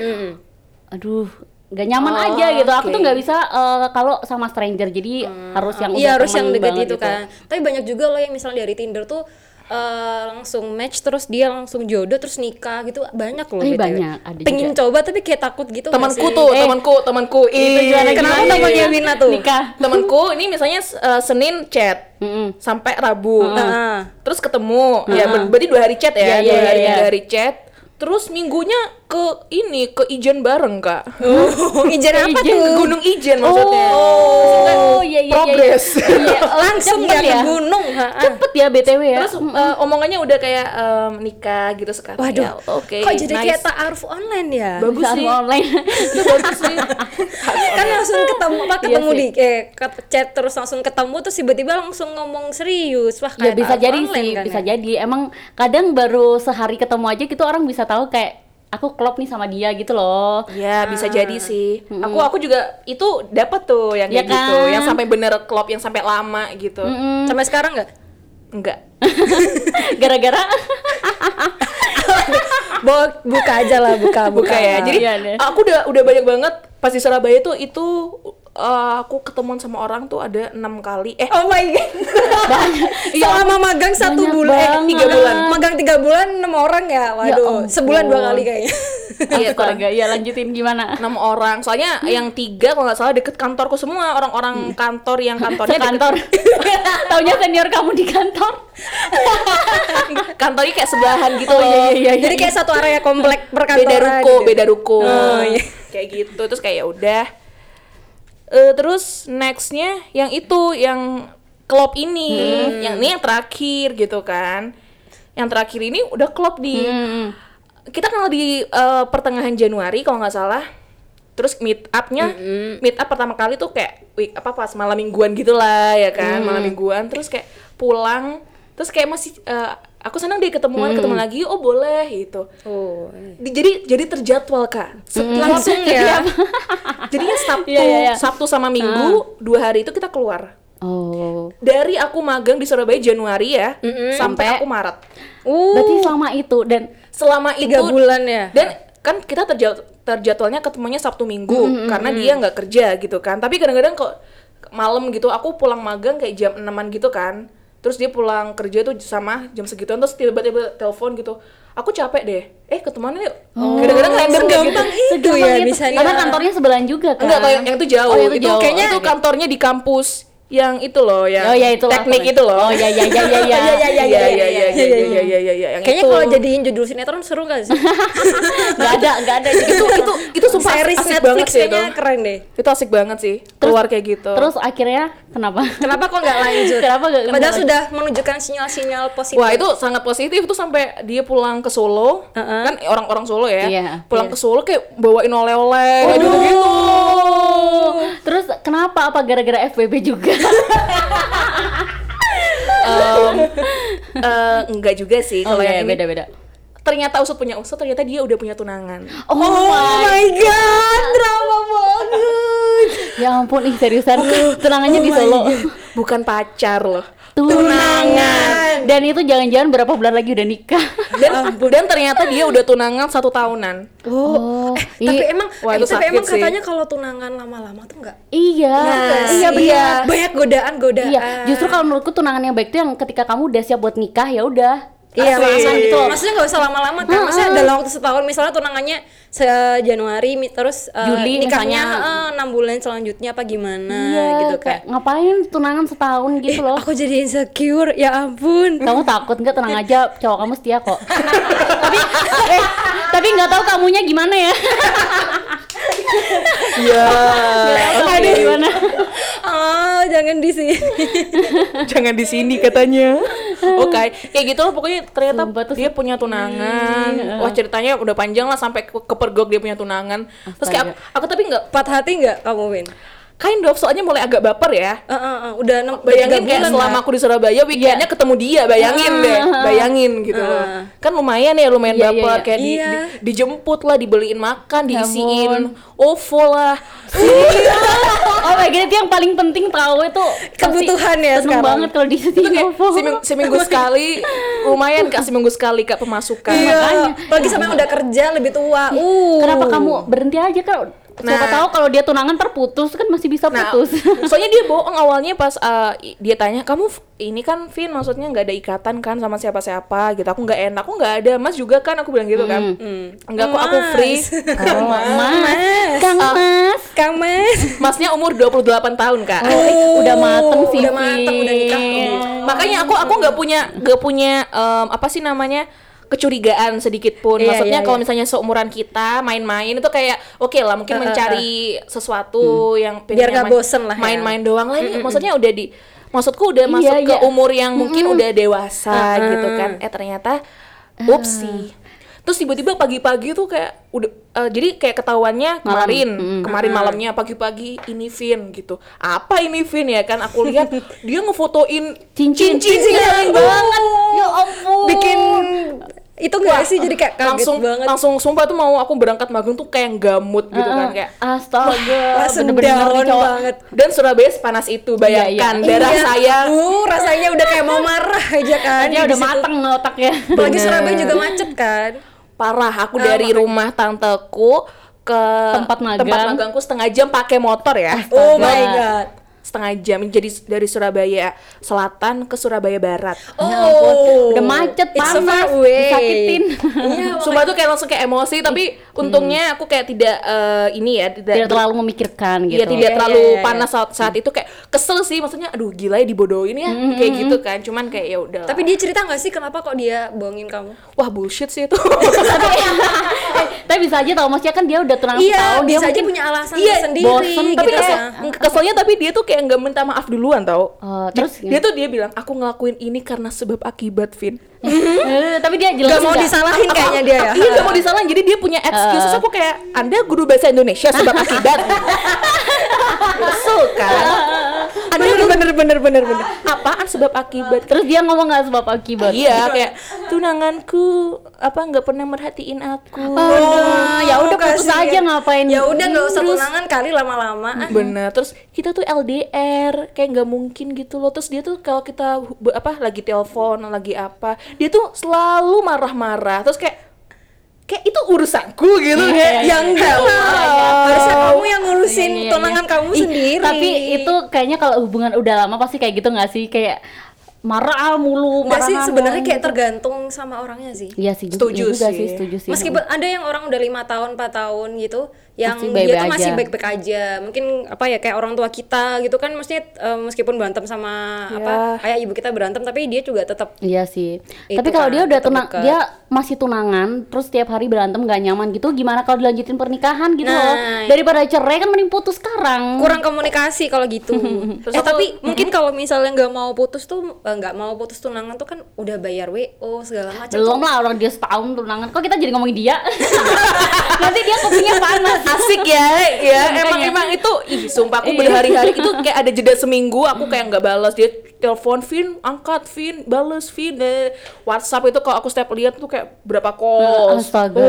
Speaker 2: aduh nggak nyaman
Speaker 3: Oh,
Speaker 2: aja gitu. Aku
Speaker 3: oke.
Speaker 2: tuh nggak bisa eh, kalau sama stranger. Jadi harus yang
Speaker 1: iya
Speaker 2: udah
Speaker 1: harus yang
Speaker 2: temen
Speaker 1: deket
Speaker 2: banget Iya,
Speaker 1: gitu kan tapi banyak juga loh yang misalnya dari Tinder tuh eh, langsung match terus dia langsung jodoh terus nikah gitu banyak loh BTW.
Speaker 2: Eh, banyak, ada
Speaker 1: pengen coba tapi kayak takut gitu nggak
Speaker 3: Temanku
Speaker 1: sih?
Speaker 3: tuh,
Speaker 2: Eh.
Speaker 3: temanku, temanku. Ih,
Speaker 2: Gimana-
Speaker 1: Iya, kenapa
Speaker 2: gimana
Speaker 1: temennya
Speaker 2: ya?
Speaker 1: Wina tuh?
Speaker 2: Nikah.
Speaker 3: temanku ini misalnya eh, Senin chat
Speaker 2: Mm-mm.
Speaker 3: sampai Rabu Nah,
Speaker 1: Heeh.
Speaker 3: terus ketemu ya ber- berarti dua hari
Speaker 2: Iya,
Speaker 3: chat ya
Speaker 2: iya,
Speaker 3: dua hari
Speaker 2: iya.
Speaker 3: tiga hari chat terus minggunya ke ini ke Ijen bareng kak
Speaker 1: Oh, ijen apa
Speaker 2: Ijen.
Speaker 1: tuh?
Speaker 3: ke Gunung Ijen maksudnya
Speaker 2: Oh, iya iya iya.
Speaker 3: progress.
Speaker 2: Iya,
Speaker 1: Langsung
Speaker 2: cepet
Speaker 1: ya, ke gunung. ha, ah.
Speaker 2: Cepet ya BTW ya.
Speaker 3: terus eh, omongannya udah kayak em, nikah gitu sekarang
Speaker 1: Waduh,
Speaker 3: Ya, oke
Speaker 1: kok jadi
Speaker 3: nice.
Speaker 1: kayak ta'aruf online ya?
Speaker 3: Bagus
Speaker 2: Bisa
Speaker 3: sih.
Speaker 2: online.
Speaker 3: Itu bagus sih
Speaker 1: kan langsung ketemu apa
Speaker 2: Iya
Speaker 1: ketemu
Speaker 2: sih.
Speaker 1: di eh, ke- chat terus langsung ketemu terus tiba-tiba langsung ngomong serius wah
Speaker 2: ya
Speaker 1: kayak
Speaker 2: bisa
Speaker 1: ta'aruf
Speaker 2: jadi
Speaker 1: online
Speaker 2: sih,
Speaker 1: kan
Speaker 2: bisa
Speaker 1: ya?
Speaker 2: jadi. Emang kadang baru sehari ketemu aja gitu orang bisa tahu kayak aku klop nih sama dia gitu loh.
Speaker 3: ya bisa jadi sih aku aku juga itu dapat tuh yang
Speaker 2: Ya
Speaker 3: kayak gitu
Speaker 2: kan? Mm.
Speaker 3: yang sampai bener klop yang sampai lama gitu
Speaker 1: sampai sekarang nggak
Speaker 3: enggak
Speaker 2: Gara-gara
Speaker 1: Bo- buka aja lah buka
Speaker 3: buka ya. Jadi
Speaker 2: Iya deh.
Speaker 3: aku udah udah banyak banget pas di Surabaya tuh itu eh, aku ketemuan sama orang tuh ada enam kali. Eh
Speaker 1: oh my god
Speaker 2: banyak.
Speaker 3: Iya.
Speaker 2: Ya
Speaker 1: selama magang satu
Speaker 2: banyak
Speaker 1: bulan eh, tiga
Speaker 2: banget.
Speaker 1: bulan magang tiga bulan enam orang ya waduh
Speaker 2: ampun.
Speaker 1: sebulan dua kali kayaknya
Speaker 3: iya, tuh.
Speaker 2: Astaga, ya lanjutin gimana?
Speaker 3: enam orang. Soalnya yang tiga kalau nggak salah deket kantorku semua
Speaker 1: Iya.
Speaker 3: orang-orang kantor yang kantornya deket-
Speaker 2: Sekantor. Taunya senior kamu di kantor.
Speaker 3: kantornya kayak sebelahan gitu
Speaker 1: Oh,
Speaker 3: loh.
Speaker 1: jadi kayak satu area komplek iya,
Speaker 3: beda
Speaker 1: perkantoran
Speaker 3: ruko,
Speaker 1: gitu.
Speaker 3: beda ruko.
Speaker 1: Oh, iya.
Speaker 3: Kayak gitu. Terus kayak ya udah. Eh, terus nextnya yang itu yang klop ini,
Speaker 1: Hmm.
Speaker 3: yang ini yang terakhir gitu kan. Yang terakhir ini udah klop di
Speaker 1: Hmm.
Speaker 3: kita kenal di eh, pertengahan Januari kalau nggak salah terus meet upnya meet up pertama kali tuh kayak week apa pas malam mingguan gitulah ya kan malam mingguan terus kayak pulang terus kayak masih eh, aku senang deh ketemuan ketemu lagi oh boleh gitu
Speaker 1: oh
Speaker 3: Di- jadi jadi terjadwal kak Setelah-
Speaker 1: langsung ya
Speaker 3: Iya, jadinya Sabtu
Speaker 2: Iya, iya, iya.
Speaker 3: Sabtu sama Minggu dua hari itu kita keluar
Speaker 2: Oh.
Speaker 3: dari aku magang di Surabaya Januari ya
Speaker 2: Sampai-
Speaker 3: sampai aku Maret
Speaker 1: uh
Speaker 2: Berarti selama itu dan
Speaker 3: selama
Speaker 1: tiga
Speaker 3: itu
Speaker 1: bulan ya
Speaker 3: dan kan kita terja- terjadwalnya ketemunya Sabtu Minggu
Speaker 2: Mm-hmm,
Speaker 3: karena dia nggak kerja gitu kan tapi kadang-kadang kok malam gitu aku pulang magang kayak jam 6-an gitu kan terus dia pulang kerja tuh sama jam segituan terus tiba-tiba telepon gitu aku capek deh eh ketemuan yuk kadang-kadang random kayak
Speaker 1: Oh,
Speaker 3: gitu
Speaker 1: segampang itu ya
Speaker 2: Segampang itu.
Speaker 1: bisa
Speaker 2: Karena kantornya sebelahan juga kan.
Speaker 3: enggak kalau yang, yang itu jauh
Speaker 2: Oh, yang itu
Speaker 3: itu
Speaker 2: jauh.
Speaker 3: kayaknya itu kantornya di kampus yang itu loh yang
Speaker 2: Oh, ya, itulah.
Speaker 3: teknik itu loh
Speaker 2: Oh, ya, ya, ya, ya, iya. ya.
Speaker 3: ya ya ya ya ya ya ya ya ya ya yang
Speaker 1: kayaknya
Speaker 3: itu.
Speaker 1: kalau jadiin judul sinetron seru gak sih
Speaker 2: Enggak ada, enggak ada. Jadi
Speaker 3: itu itu itu sumpah
Speaker 1: series
Speaker 3: asik
Speaker 1: Netflix
Speaker 3: banget sih itu
Speaker 1: kayaknya keren deh
Speaker 3: itu asik banget sih keluar kayak gitu
Speaker 2: Terus akhirnya kenapa?
Speaker 1: Kenapa kok nggak lanjut?
Speaker 2: Kenapa nggak- kenapa
Speaker 1: Padahal
Speaker 2: lanjut?
Speaker 1: sudah menunjukkan sinyal-sinyal positif.
Speaker 3: wah itu sangat positif tuh sampai dia pulang ke Solo kan orang-orang Solo ya
Speaker 2: Iya.
Speaker 3: pulang ke Solo kayak bawain oleh-oleh gitu. kayak gitu-gitu Oh.
Speaker 2: Terus kenapa? Apa gara-gara FBB juga?
Speaker 3: Em, eh, enggak juga sih
Speaker 1: Oh,
Speaker 2: Oh,
Speaker 1: iya,
Speaker 3: kalau
Speaker 2: iya,
Speaker 3: yang ini
Speaker 2: beda-beda.
Speaker 3: ternyata usut punya usut ternyata dia udah punya tunangan
Speaker 2: Oh,
Speaker 3: iya,
Speaker 2: my.
Speaker 1: god, drama banget.
Speaker 2: Ya ampun, ih seriusan
Speaker 1: Oh
Speaker 2: tunangannya di Solo.
Speaker 3: bukan pacar loh
Speaker 2: Tunangan. Dan itu jangan-jangan berapa bulan lagi udah nikah.
Speaker 3: dan, dan ternyata dia udah tunangan satu tahunan
Speaker 2: Oh, i-
Speaker 1: eh, Tapi emang, eh,
Speaker 3: Wah, itu
Speaker 1: tapi
Speaker 3: sakit
Speaker 1: emang
Speaker 3: sih.
Speaker 1: katanya kalau tunangan lama-lama tuh nggak.
Speaker 2: iya. iya
Speaker 3: iya.
Speaker 2: benar.
Speaker 1: Banyak godaan-godaan.
Speaker 2: Iya, justru kalau menurutku tunangan yang baik tuh yang ketika kamu udah siap buat nikah ya udah.
Speaker 1: Iya,
Speaker 3: Asik.
Speaker 1: perasaan gitu. Maksudnya nggak usah lama-lama kan? Maksudnya dalam waktu setahun misalnya tunangannya se Januari mi- terus eh,
Speaker 2: Juli
Speaker 1: nikahnya
Speaker 2: misalnya.
Speaker 1: eh, enam bulan selanjutnya apa gimana
Speaker 2: Iya,
Speaker 1: gitu kayak
Speaker 2: kayak ngapain tunangan setahun gitu loh.
Speaker 1: aku jadi insecure ya ampun
Speaker 2: Kamu takut nggak tenang aja cowok kamu setia kok. tapi eh, tapi nggak tahu kamunya gimana ya.
Speaker 3: Iya.
Speaker 1: Eh,
Speaker 3: kan?
Speaker 2: Kamunya gimana?
Speaker 1: ah jangan di sini
Speaker 3: Jangan di sini katanya. Oke, kayak gitu loh pokoknya ternyata
Speaker 2: Sumpah tuh
Speaker 3: dia punya tunangan. Wah, ceritanya udah panjang lah sampai ke- kepergok dia punya tunangan. Terus kayak aku, aku tapi nggak
Speaker 1: empat hati nggak kamu Win?
Speaker 3: kind of soalnya mulai agak baper ya.
Speaker 1: Eh, eh, eh, udah enam tiga
Speaker 3: Bayangin kayak
Speaker 1: bulan
Speaker 3: selama
Speaker 1: lah.
Speaker 3: aku di Surabaya weekendnya ketemu dia, bayangin deh, bayangin gitu loh. Kan lumayan ya, lumayan
Speaker 2: Iya, iya,
Speaker 3: baper
Speaker 2: iya.
Speaker 3: kayak di-
Speaker 1: Iya.
Speaker 3: di- dijemput lah, dibeliin makan,
Speaker 2: Ya
Speaker 3: diisiin OVO lah.
Speaker 2: Oh my god, itu yang paling penting tahu itu pasti
Speaker 1: Kebutuhan ya
Speaker 2: seneng
Speaker 1: sekarang.
Speaker 2: banget kalau di
Speaker 3: Itu kayak
Speaker 2: Ovo.
Speaker 3: seming- seminggu sekali lumayan kak seminggu sekali kak pemasukan.
Speaker 1: iya
Speaker 2: Kan makanya. Iya.
Speaker 1: apalagi sama yang udah kerja lebih tua uh
Speaker 2: Kenapa kamu berhenti aja kan? Siapa
Speaker 3: Nah.
Speaker 2: tahu kalau dia tunangan terputus kan masih bisa
Speaker 3: Nah,
Speaker 2: putus.
Speaker 3: soalnya dia bohong awalnya pas uh, i- dia tanya kamu f- ini kan Vin maksudnya nggak ada ikatan kan sama siapa-siapa gitu. Aku nggak enak, aku nggak ada. Mas juga kan aku bilang gitu kan. Enggak kok aku free.
Speaker 2: Oh, mas, Kang
Speaker 1: Ah.
Speaker 2: Mas. eh,
Speaker 1: Kang Mas
Speaker 3: Masnya umur 28 tahun, Kak.
Speaker 1: Oh,
Speaker 2: udah mateng sih.
Speaker 1: udah mateng, udah nikah tuh.
Speaker 2: Iya.
Speaker 3: Makanya aku aku nggak punya nggak punya em, apa sih namanya? kecurigaan sedikit pun.
Speaker 1: Iya,
Speaker 3: Maksudnya
Speaker 1: iya,
Speaker 3: kalau
Speaker 1: iya.
Speaker 3: misalnya seumuran kita main-main itu kayak oke lah mungkin mencari sesuatu yang
Speaker 1: Hmm. Biar
Speaker 3: pengen
Speaker 1: nggak
Speaker 3: main-
Speaker 1: bosen lah ya.
Speaker 3: Main-main doang lah ini maksudnya udah di maksudku udah
Speaker 2: Iya,
Speaker 3: masuk ke
Speaker 2: iya.
Speaker 3: umur yang mungkin udah dewasa gitu kan. Eh ternyata upsi. Terus tiba-tiba pagi-pagi tuh kayak udah eh, jadi kayak ketahuannya kemarin kemarin malamnya pagi-pagi ini Vin gitu. Apa ini Vin ya kan aku lihat dia ngefotoin
Speaker 2: Cincin.
Speaker 3: cincinnya banget.
Speaker 2: Ya ampun.
Speaker 1: Iya. bikin itu enggak sih jadi kayak kaget
Speaker 3: Langsung
Speaker 1: banget
Speaker 3: langsung sumpah tuh mau aku berangkat magang tuh kayak gamut gitu
Speaker 2: Heeh.
Speaker 3: kan kayak
Speaker 2: Ah, Astaga,
Speaker 1: langsung
Speaker 2: eh, bener-bener
Speaker 1: down
Speaker 2: nih cowok.
Speaker 1: banget
Speaker 3: dan Surabaya sepanas itu bayangkan darah
Speaker 1: Iya.
Speaker 3: saya
Speaker 1: uh rasanya udah kayak mau marah aja kan
Speaker 2: Dia
Speaker 1: di
Speaker 2: udah
Speaker 1: situ.
Speaker 2: mateng otaknya.
Speaker 1: apalagi
Speaker 3: Bener.
Speaker 1: Surabaya juga macet kan
Speaker 3: parah aku
Speaker 1: Ah,
Speaker 3: dari rumah tanteku ke
Speaker 2: Tempat magang.
Speaker 3: tempat magangku setengah jam pakai motor ya
Speaker 1: oh
Speaker 2: Astaga.
Speaker 1: my god
Speaker 3: setengah jam jadi dari Surabaya Selatan ke Surabaya Barat
Speaker 1: oh
Speaker 2: Ya udah macet,
Speaker 1: It's so
Speaker 2: panas,
Speaker 1: far away.
Speaker 2: disakitin.
Speaker 1: iya
Speaker 3: Sumpah tuh kayak langsung kayak emosi tapi untungnya aku kayak tidak eh, ini ya tidak
Speaker 2: Tidak terlalu memikirkan gitu.
Speaker 3: Iya tidak
Speaker 1: Iya,
Speaker 3: terlalu
Speaker 1: iya, iya.
Speaker 3: panas saat, saat itu kayak kesel sih maksudnya aduh gila ya dibodohin ya kayak gitu kan cuman kayak ya udah
Speaker 1: Mm-hmm. tapi dia cerita nggak sih kenapa kok dia bohongin kamu
Speaker 3: wah bullshit sih itu
Speaker 2: tapi, eh, tapi bisa aja tau maksudnya kan dia udah tunangan
Speaker 1: iya
Speaker 2: setahun dia
Speaker 1: bisa aja
Speaker 2: mungkin
Speaker 1: punya alasan
Speaker 3: Iya,
Speaker 1: sendiri
Speaker 2: bosen,
Speaker 1: gitu
Speaker 3: tapi kesel,
Speaker 1: ya.
Speaker 3: keselnya tapi dia tuh kayak nggak minta maaf duluan tau
Speaker 2: Oh, terus
Speaker 3: dia tuh dia bilang aku ngelakuin ini karena sebab akibat Vin
Speaker 2: Eh, tapi dia jelas
Speaker 1: Gak mau
Speaker 2: nggak-
Speaker 1: disalahin kayaknya dia ya
Speaker 3: iya gak mau disalahin jadi dia punya excuse Terus aku kayak anda guru bahasa Indonesia sebab akibat kesel kan anda
Speaker 1: bener
Speaker 3: guru
Speaker 1: bener bener bener bener
Speaker 3: apaan sebab akibat
Speaker 2: terus dia ngomong nggak sebab akibat
Speaker 3: Iya kayak tunanganku apa nggak pernah merhatiin aku.
Speaker 1: Oh,
Speaker 2: Aduh, ya udah putus
Speaker 1: kasihan.
Speaker 2: aja ngapain gitu. Iya,
Speaker 1: ya udah nggak usah
Speaker 2: terus.
Speaker 1: tunangan kali lama-lama ah.
Speaker 3: Bener. Terus kita tuh LDR kayak nggak mungkin gitu loh. Terus dia tuh kalau kita hu- be- apa lagi telepon lagi apa dia tuh selalu marah-marah. Terus kayak kayak itu urusanku gitu
Speaker 2: Iya,
Speaker 3: kayak.
Speaker 1: yang Eh, ya enggak harusnya kamu yang ngurusin
Speaker 2: Iya, iya,
Speaker 1: tunangan
Speaker 2: iya.
Speaker 1: kamu
Speaker 2: Ih,
Speaker 1: sendiri
Speaker 2: tapi itu kayaknya kalau hubungan udah lama pasti kayak gitu nggak sih kayak marah mulu
Speaker 1: Nggak
Speaker 2: marah
Speaker 1: sih sebenarnya kayak tergantung sama orangnya sih
Speaker 2: gitu. Iya sih, iya
Speaker 3: Setuju
Speaker 2: juga
Speaker 3: sih.
Speaker 2: sih. setuju sih.
Speaker 1: Meskipun ada yang orang udah lima tahun, 4 tahun gitu, yang
Speaker 2: Masih
Speaker 1: dia
Speaker 2: baik-baik
Speaker 1: tuh masih
Speaker 2: aja.
Speaker 1: baik-baik aja. Mungkin apa ya kayak orang tua kita gitu kan, maksudnya eh, meskipun berantem sama apa kayak ibu kita berantem, tapi dia juga tetap
Speaker 2: Iya sih.
Speaker 1: Itu
Speaker 2: Tapi kalau
Speaker 1: kan,
Speaker 2: dia udah
Speaker 1: tetep
Speaker 2: tunang,
Speaker 1: deket.
Speaker 2: dia masih tunangan, terus tiap hari berantem gak nyaman gitu, gimana kalau dilanjutin pernikahan gitu
Speaker 1: Nah.
Speaker 2: loh? Daripada cerai kan mending putus sekarang.
Speaker 1: kurang komunikasi kalau gitu. eh
Speaker 3: Terus aku-
Speaker 1: tapi mungkin kalau misalnya nggak mau putus tuh eh, nggak mau putus tunangan tuh kan udah bayar WO segala macam.
Speaker 2: Belum lah orang dia setahun tunangan. Kok kita jadi ngomongin dia? Nanti dia kupingnya panas. Iya,
Speaker 3: Asik ya, ya
Speaker 2: Makanya. Iya.
Speaker 3: emang emang itu ih sumpah aku berhari-hari itu kayak ada jeda seminggu aku
Speaker 2: Hmm.
Speaker 3: kayak nggak balas dia telepon Vin, angkat Vin, balas Vin, eh, WhatsApp itu kalau aku setiap lihat tuh kayak berapa call,
Speaker 2: Hmm, Astaga.
Speaker 3: chat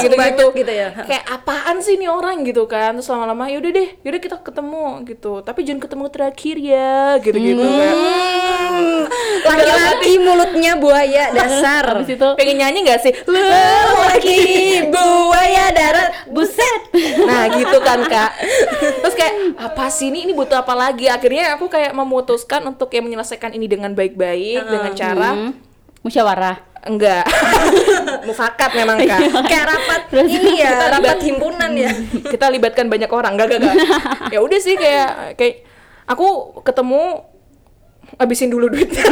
Speaker 1: Langsung
Speaker 3: gitu gitu,
Speaker 1: banyak gitu ya.
Speaker 3: kayak apaan sih nih orang gitu kan, terus lama-lama yaudah deh, yaudah kita ketemu gitu, tapi jangan ketemu terakhir ya, gitu gitu kan.
Speaker 1: Hmm, Laki-laki mulutnya buaya dasar.
Speaker 2: Habis itu
Speaker 3: Pengen nyanyi nggak sih?
Speaker 1: Laki buaya darat.
Speaker 2: buset.
Speaker 3: Nah gitu kan kak Terus kayak apa sih ini, ini butuh apa lagi
Speaker 2: Hmm.
Speaker 3: Akhirnya aku kayak memutuskan untuk ya menyelesaikan ini dengan baik-baik Dengan cara
Speaker 2: Musyawarah.
Speaker 3: enggak mufakat memang kak
Speaker 1: kayak rapat ini ya rapat himpunan ya
Speaker 3: kita libatkan banyak orang enggak enggak enggak ya udah sih kayak kayak aku ketemu abisin dulu duitnya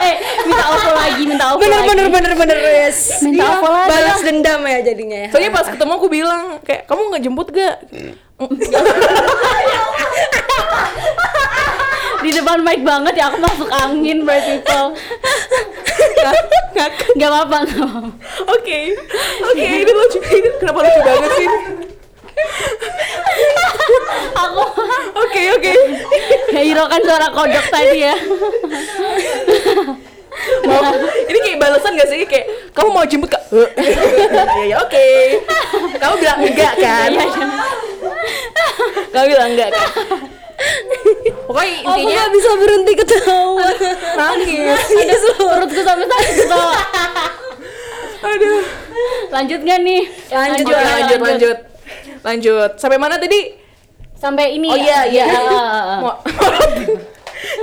Speaker 2: eh minta apa lagi minta apa
Speaker 1: bener
Speaker 2: lagi
Speaker 1: bener bener bener yes
Speaker 2: Minta
Speaker 1: Iya,
Speaker 2: apa lagi?
Speaker 1: balas dendam ya jadinya ya
Speaker 3: soalnya pas ketemu aku bilang kayak kamu nggak jemput gak
Speaker 2: di depan mic banget ya aku masuk angin by people nggak apa-apa nggak apa-apa
Speaker 3: oke oke ini lucu ini kenapa lucu banget sih
Speaker 2: aku
Speaker 3: oke oke
Speaker 2: ya Iro kan suara kodok tadi ya
Speaker 3: mau ini kayak balasan gak sih kayak kamu mau jemput kak Eh, ya ya oke kamu bilang enggak kan
Speaker 2: Iya, iya.
Speaker 3: kamu bilang enggak kan Oh, pokoknya
Speaker 1: aku
Speaker 3: intinya
Speaker 1: nggak bisa berhenti ketawa
Speaker 3: nangis
Speaker 1: Yes, loh.
Speaker 2: perutku sampai sakit kok
Speaker 3: aduh
Speaker 2: lanjut nggak nih
Speaker 1: Lanjut,
Speaker 3: Oke,
Speaker 2: ya,
Speaker 3: lanjut lanjut lanjut sampai mana tadi
Speaker 2: sampai ini
Speaker 3: oh iya
Speaker 2: ya,
Speaker 3: iya
Speaker 2: ya, ya.
Speaker 3: Mau-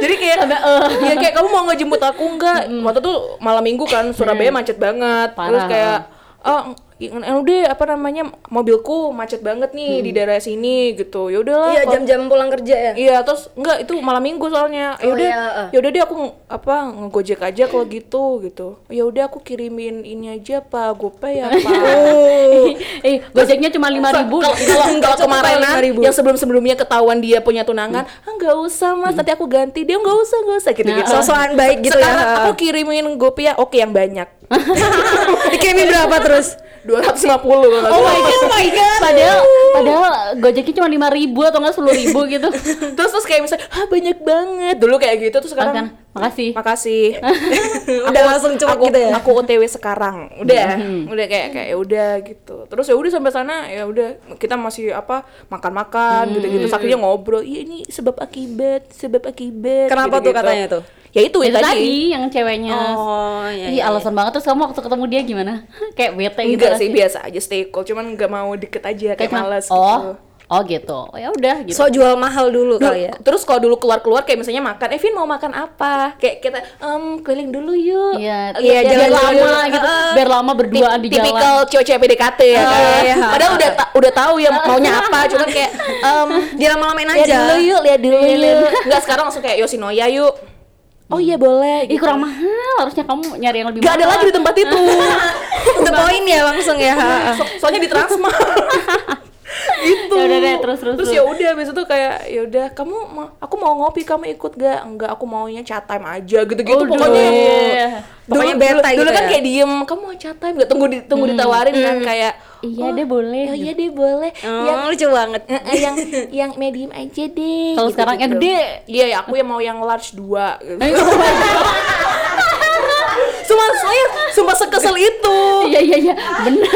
Speaker 3: jadi kayak
Speaker 2: Sampai, eh.
Speaker 3: ya kayak kamu mau ngejemput aku nggak waktu tuh malam minggu kan Surabaya macet banget terus
Speaker 2: Parah.
Speaker 3: kayak ah oh, udah apa namanya mobilku macet banget nih
Speaker 2: Mm.
Speaker 3: di daerah sini gitu ya udahlah
Speaker 1: iya
Speaker 3: kalau-
Speaker 1: jam-jam pulang kerja ya
Speaker 3: Iya, terus enggak itu malam minggu soalnya. Ya
Speaker 1: Oh,
Speaker 3: udah,
Speaker 1: iya, eh.
Speaker 3: ya udah deh aku nge- apa ngegojek aja kalau gitu gitu. Ya udah aku kirimin ini aja Pak, GoPay ya Pak.
Speaker 2: eh gojeknya cuma lima ribu
Speaker 3: Kalau kalau-
Speaker 1: Nggak
Speaker 3: kalau
Speaker 1: cukup
Speaker 3: kemarinan
Speaker 1: 5.000.
Speaker 3: yang sebelum-sebelumnya ketahuan dia punya tunangan, ah nggak usah Mas, nanti aku ganti. Dia nggak usah, nggak usah gitu-gitu.
Speaker 2: Nah,
Speaker 1: sosokan baik gitu
Speaker 3: ah. Sekarang
Speaker 1: ya
Speaker 3: aku kirimin GoPay ya, oke yang banyak.
Speaker 1: dikirimin berapa terus
Speaker 3: 250 kalau nggak
Speaker 1: oh
Speaker 3: salah.
Speaker 1: my god oh my god
Speaker 3: ya.
Speaker 2: padahal padahal gojeknya cuma lima ribu atau enggak sepuluh ribu gitu
Speaker 3: Terus terus kayak misalnya, ah banyak banget. Dulu kayak gitu terus sekarang
Speaker 2: Makan. makasih
Speaker 3: makasih
Speaker 1: udah langsung cepat
Speaker 3: aku,
Speaker 1: gitu ya Hmm.
Speaker 3: aku OTW sekarang udah udah kayak kayak ya udah gitu terus ya udah sampai sana ya udah kita masih apa
Speaker 1: Hmm.
Speaker 3: makan-makan gitu-gitu Terus akhirnya ngobrol iya ini sebab akibat sebab akibat
Speaker 1: Kenapa tuh
Speaker 3: gitu-gitu.
Speaker 1: katanya tuh?
Speaker 3: ya itu,
Speaker 2: itu
Speaker 3: ya tadi,
Speaker 2: tadi yang ceweknya
Speaker 1: oh iya,
Speaker 2: Ih, alasan banget terus kamu waktu ketemu dia gimana? kayak bete gitu
Speaker 3: enggak
Speaker 2: nggak
Speaker 3: sih biasa aja stay cool cuman nggak mau deket aja kayak,
Speaker 2: cuma,
Speaker 3: males
Speaker 2: oh,
Speaker 3: gitu
Speaker 2: oh gitu. Oh, ya udah gitu.
Speaker 1: so jual mahal dulu
Speaker 3: Duh,
Speaker 1: kali ya
Speaker 3: Terus kalau dulu keluar-keluar kayak misalnya makan, Evin mau makan apa? Kayak kita, em keliling dulu yuk.
Speaker 2: Iya,
Speaker 3: Lihat
Speaker 1: iya,
Speaker 2: biar
Speaker 1: jalan
Speaker 2: lama
Speaker 1: dulu.
Speaker 2: gitu.
Speaker 3: Ah,
Speaker 1: Heeh.
Speaker 2: biar lama berdua di
Speaker 3: Tip-
Speaker 2: jalan.
Speaker 3: tipikal cewek-cewek PDKT ya
Speaker 1: Oh,
Speaker 3: kan.
Speaker 1: iya.
Speaker 3: Padahal udah ta- udah tahu ya maunya apa, cuman kayak em
Speaker 1: dia lama-lamain
Speaker 3: lihat
Speaker 1: aja
Speaker 3: dulu ya. yuk, lihat dulu
Speaker 2: Iya,
Speaker 3: yuk. Enggak sekarang langsung kayak Yoshinoya yuk. Oh iya boleh.
Speaker 2: Ih, kurang mahal. Harusnya kamu nyari yang lebih
Speaker 3: Gak ada
Speaker 2: mahal.
Speaker 3: lagi di tempat itu.
Speaker 1: untuk poin ya langsung ya
Speaker 3: So- soalnya di Transmart. gitu.
Speaker 2: Yaudah deh, terus, terus,
Speaker 3: Terus
Speaker 2: terus.
Speaker 3: ya udah habis itu kayak ya udah kamu ma- aku mau ngopi kamu ikut gak? Enggak, aku maunya chat time aja gitu-gitu
Speaker 2: Aduh.
Speaker 3: pokoknya.
Speaker 2: Iya.
Speaker 1: Pokoknya
Speaker 3: Dulu-
Speaker 1: beta
Speaker 3: dulu,
Speaker 1: gitu
Speaker 3: dulu kan
Speaker 1: ya.
Speaker 3: kayak diem, kamu mau chat time gak? Tunggu di, tunggu ditawarin kan kayak
Speaker 2: Iya,
Speaker 3: "Oh,
Speaker 2: deh boleh.
Speaker 3: Oh iya deh boleh. Yang
Speaker 1: oh, lucu banget
Speaker 3: eh, eh, yang yang medium aja deh.
Speaker 2: Kalau sekarang yang gede.
Speaker 3: Iya ya aku yang mau yang large dua. Gitu.
Speaker 2: Ayo,
Speaker 3: Sumpah, saya sumpah sekesel itu.
Speaker 2: Iya, iya, iya. Benar.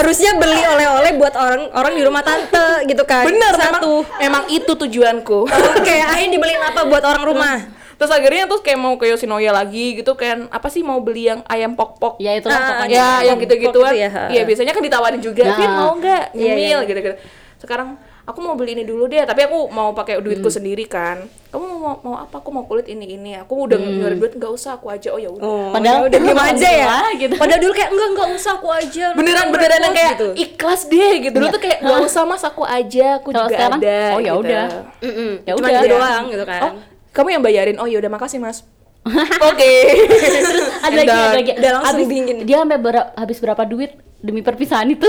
Speaker 1: harusnya beli oleh-oleh buat orang orang di rumah tante gitu kan
Speaker 3: Bener
Speaker 1: satu
Speaker 3: memang, memang itu tujuanku.
Speaker 1: oke akhirnya dibeliin apa buat orang rumah
Speaker 3: terus akhirnya terus kayak mau ke Yoshinoya lagi gitu kan apa sih mau beli yang ayam pok pok
Speaker 2: Ya itulah
Speaker 1: Ah,
Speaker 2: pokoknya.
Speaker 3: ya yang gitu
Speaker 1: Pok
Speaker 3: gituan
Speaker 1: itu ya, ha.
Speaker 3: iya biasanya kan ditawarin juga
Speaker 2: Nah.
Speaker 3: Vin mau nggak
Speaker 1: Iya,
Speaker 3: nyemil
Speaker 1: iya, iya.
Speaker 3: gitu gitu sekarang aku mau beli ini dulu deh tapi aku mau pakai duitku sendiri kan kamu mau mau apa aku mau kulit ini ini aku udah hmm. duit nggak usah aku aja oh ya udah
Speaker 1: Oh,
Speaker 2: Padahal-
Speaker 1: ya udah diem aja ya.
Speaker 2: Alhamdulillah, gitu.
Speaker 1: Padahal dulu kayak enggak enggak usah aku aja. nanti
Speaker 3: beneran
Speaker 1: kamu
Speaker 3: beneran yang
Speaker 1: repot,"
Speaker 3: kayak
Speaker 1: gitu.
Speaker 3: ikhlas deh gitu dulu tuh kayak nggak usah mas aku aja aku
Speaker 2: Kalau
Speaker 3: juga
Speaker 2: sekarang,
Speaker 3: ada
Speaker 2: oh ya
Speaker 3: gitu.
Speaker 2: udah.
Speaker 1: Mm-mm,
Speaker 2: Ya
Speaker 1: Cuma
Speaker 2: udah.
Speaker 1: gitu doang gitu kan.
Speaker 3: Iya, oh kamu yang bayarin oh ya udah makasih mas oke
Speaker 2: Ada lagi, ada lagi.
Speaker 1: Udah langsung
Speaker 2: Habis-
Speaker 1: dingin.
Speaker 2: Dia sampai ber- habis berapa duit demi perpisahan itu?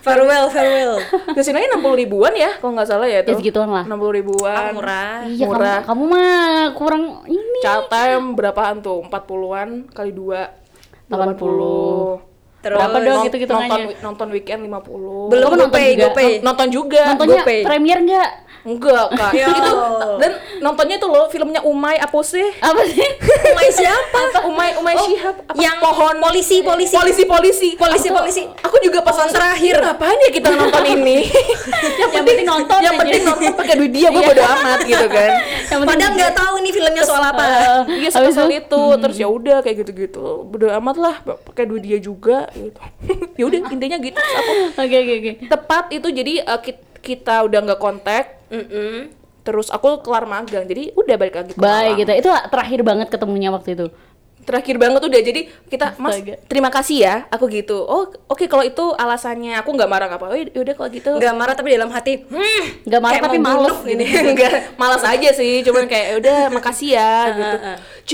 Speaker 1: Farewell, farewell.
Speaker 3: Yosinanya enam puluh ribuan ya, kalau nggak salah ya itu.
Speaker 2: Ya, segituan lah.
Speaker 3: Enam puluh ribuan.
Speaker 1: murah.
Speaker 2: iya,
Speaker 3: Murah.
Speaker 2: kamu, kamu mah kurang ini.
Speaker 3: Child time berapaan tuh? Empat puluhan kali dua.
Speaker 2: 80.
Speaker 1: Terus
Speaker 2: Berapa dong?
Speaker 3: Nont-
Speaker 2: gitu hitungannya?
Speaker 3: Nonton, nonton weekend lima puluh.
Speaker 1: Belum
Speaker 2: Kamu nonton
Speaker 1: GoPay,
Speaker 2: juga?
Speaker 1: GoPay.
Speaker 3: Nonton juga.
Speaker 2: Nontonnya
Speaker 1: GoPay.
Speaker 2: premier enggak?
Speaker 3: Enggak kak.
Speaker 1: Ya.
Speaker 3: itu dan nontonnya itu loh filmnya Umay apa sih?
Speaker 2: Apa sih?
Speaker 1: Umay siapa?
Speaker 3: Apa Umay Umay Shihab? Apa?
Speaker 1: yang pohon polisi, polisi.
Speaker 3: Oh, Polisi polisi
Speaker 1: Polisi,
Speaker 3: Aku-
Speaker 1: polisi.
Speaker 3: Aku juga pas nonton
Speaker 1: terakhir.
Speaker 3: Ngapain ya kita nonton ini?
Speaker 2: yang penting nonton
Speaker 3: yang
Speaker 2: aja.
Speaker 3: penting nonton pakai duit dia, gue bodo amat gitu kan.
Speaker 2: Yang penting
Speaker 1: Padahal nggak tahu nih filmnya soal apa.
Speaker 2: Eh,
Speaker 3: Iya
Speaker 2: habis
Speaker 3: sekesel itu, terus ya udah kayak gitu-gitu. Bodo amat lah, pakai duit dia juga gitu. ya udah intinya gitu. Terus aku
Speaker 2: Oke oke oke.
Speaker 3: tepat itu jadi eh, ki- kita udah nggak kontak,
Speaker 1: Mm-mm.
Speaker 3: terus aku kelar magang. Jadi udah balik lagi ke
Speaker 2: Bye
Speaker 3: Malang.
Speaker 2: gitu. Itu terakhir banget ketemunya waktu itu.
Speaker 3: terakhir banget udah jadi kita mas
Speaker 2: Astaga.
Speaker 3: terima kasih ya aku gitu oh oke kalau itu alasannya aku nggak marah apa oh yaudah kalau gitu
Speaker 1: nggak marah tapi dalam hati hmm,
Speaker 2: Nggak marah
Speaker 1: kayak
Speaker 2: tapi
Speaker 1: mau
Speaker 2: males gitu."
Speaker 1: bunuh
Speaker 3: ini enggak malas aja sih cuman kayak udah makasih ya
Speaker 1: Ah,
Speaker 3: gitu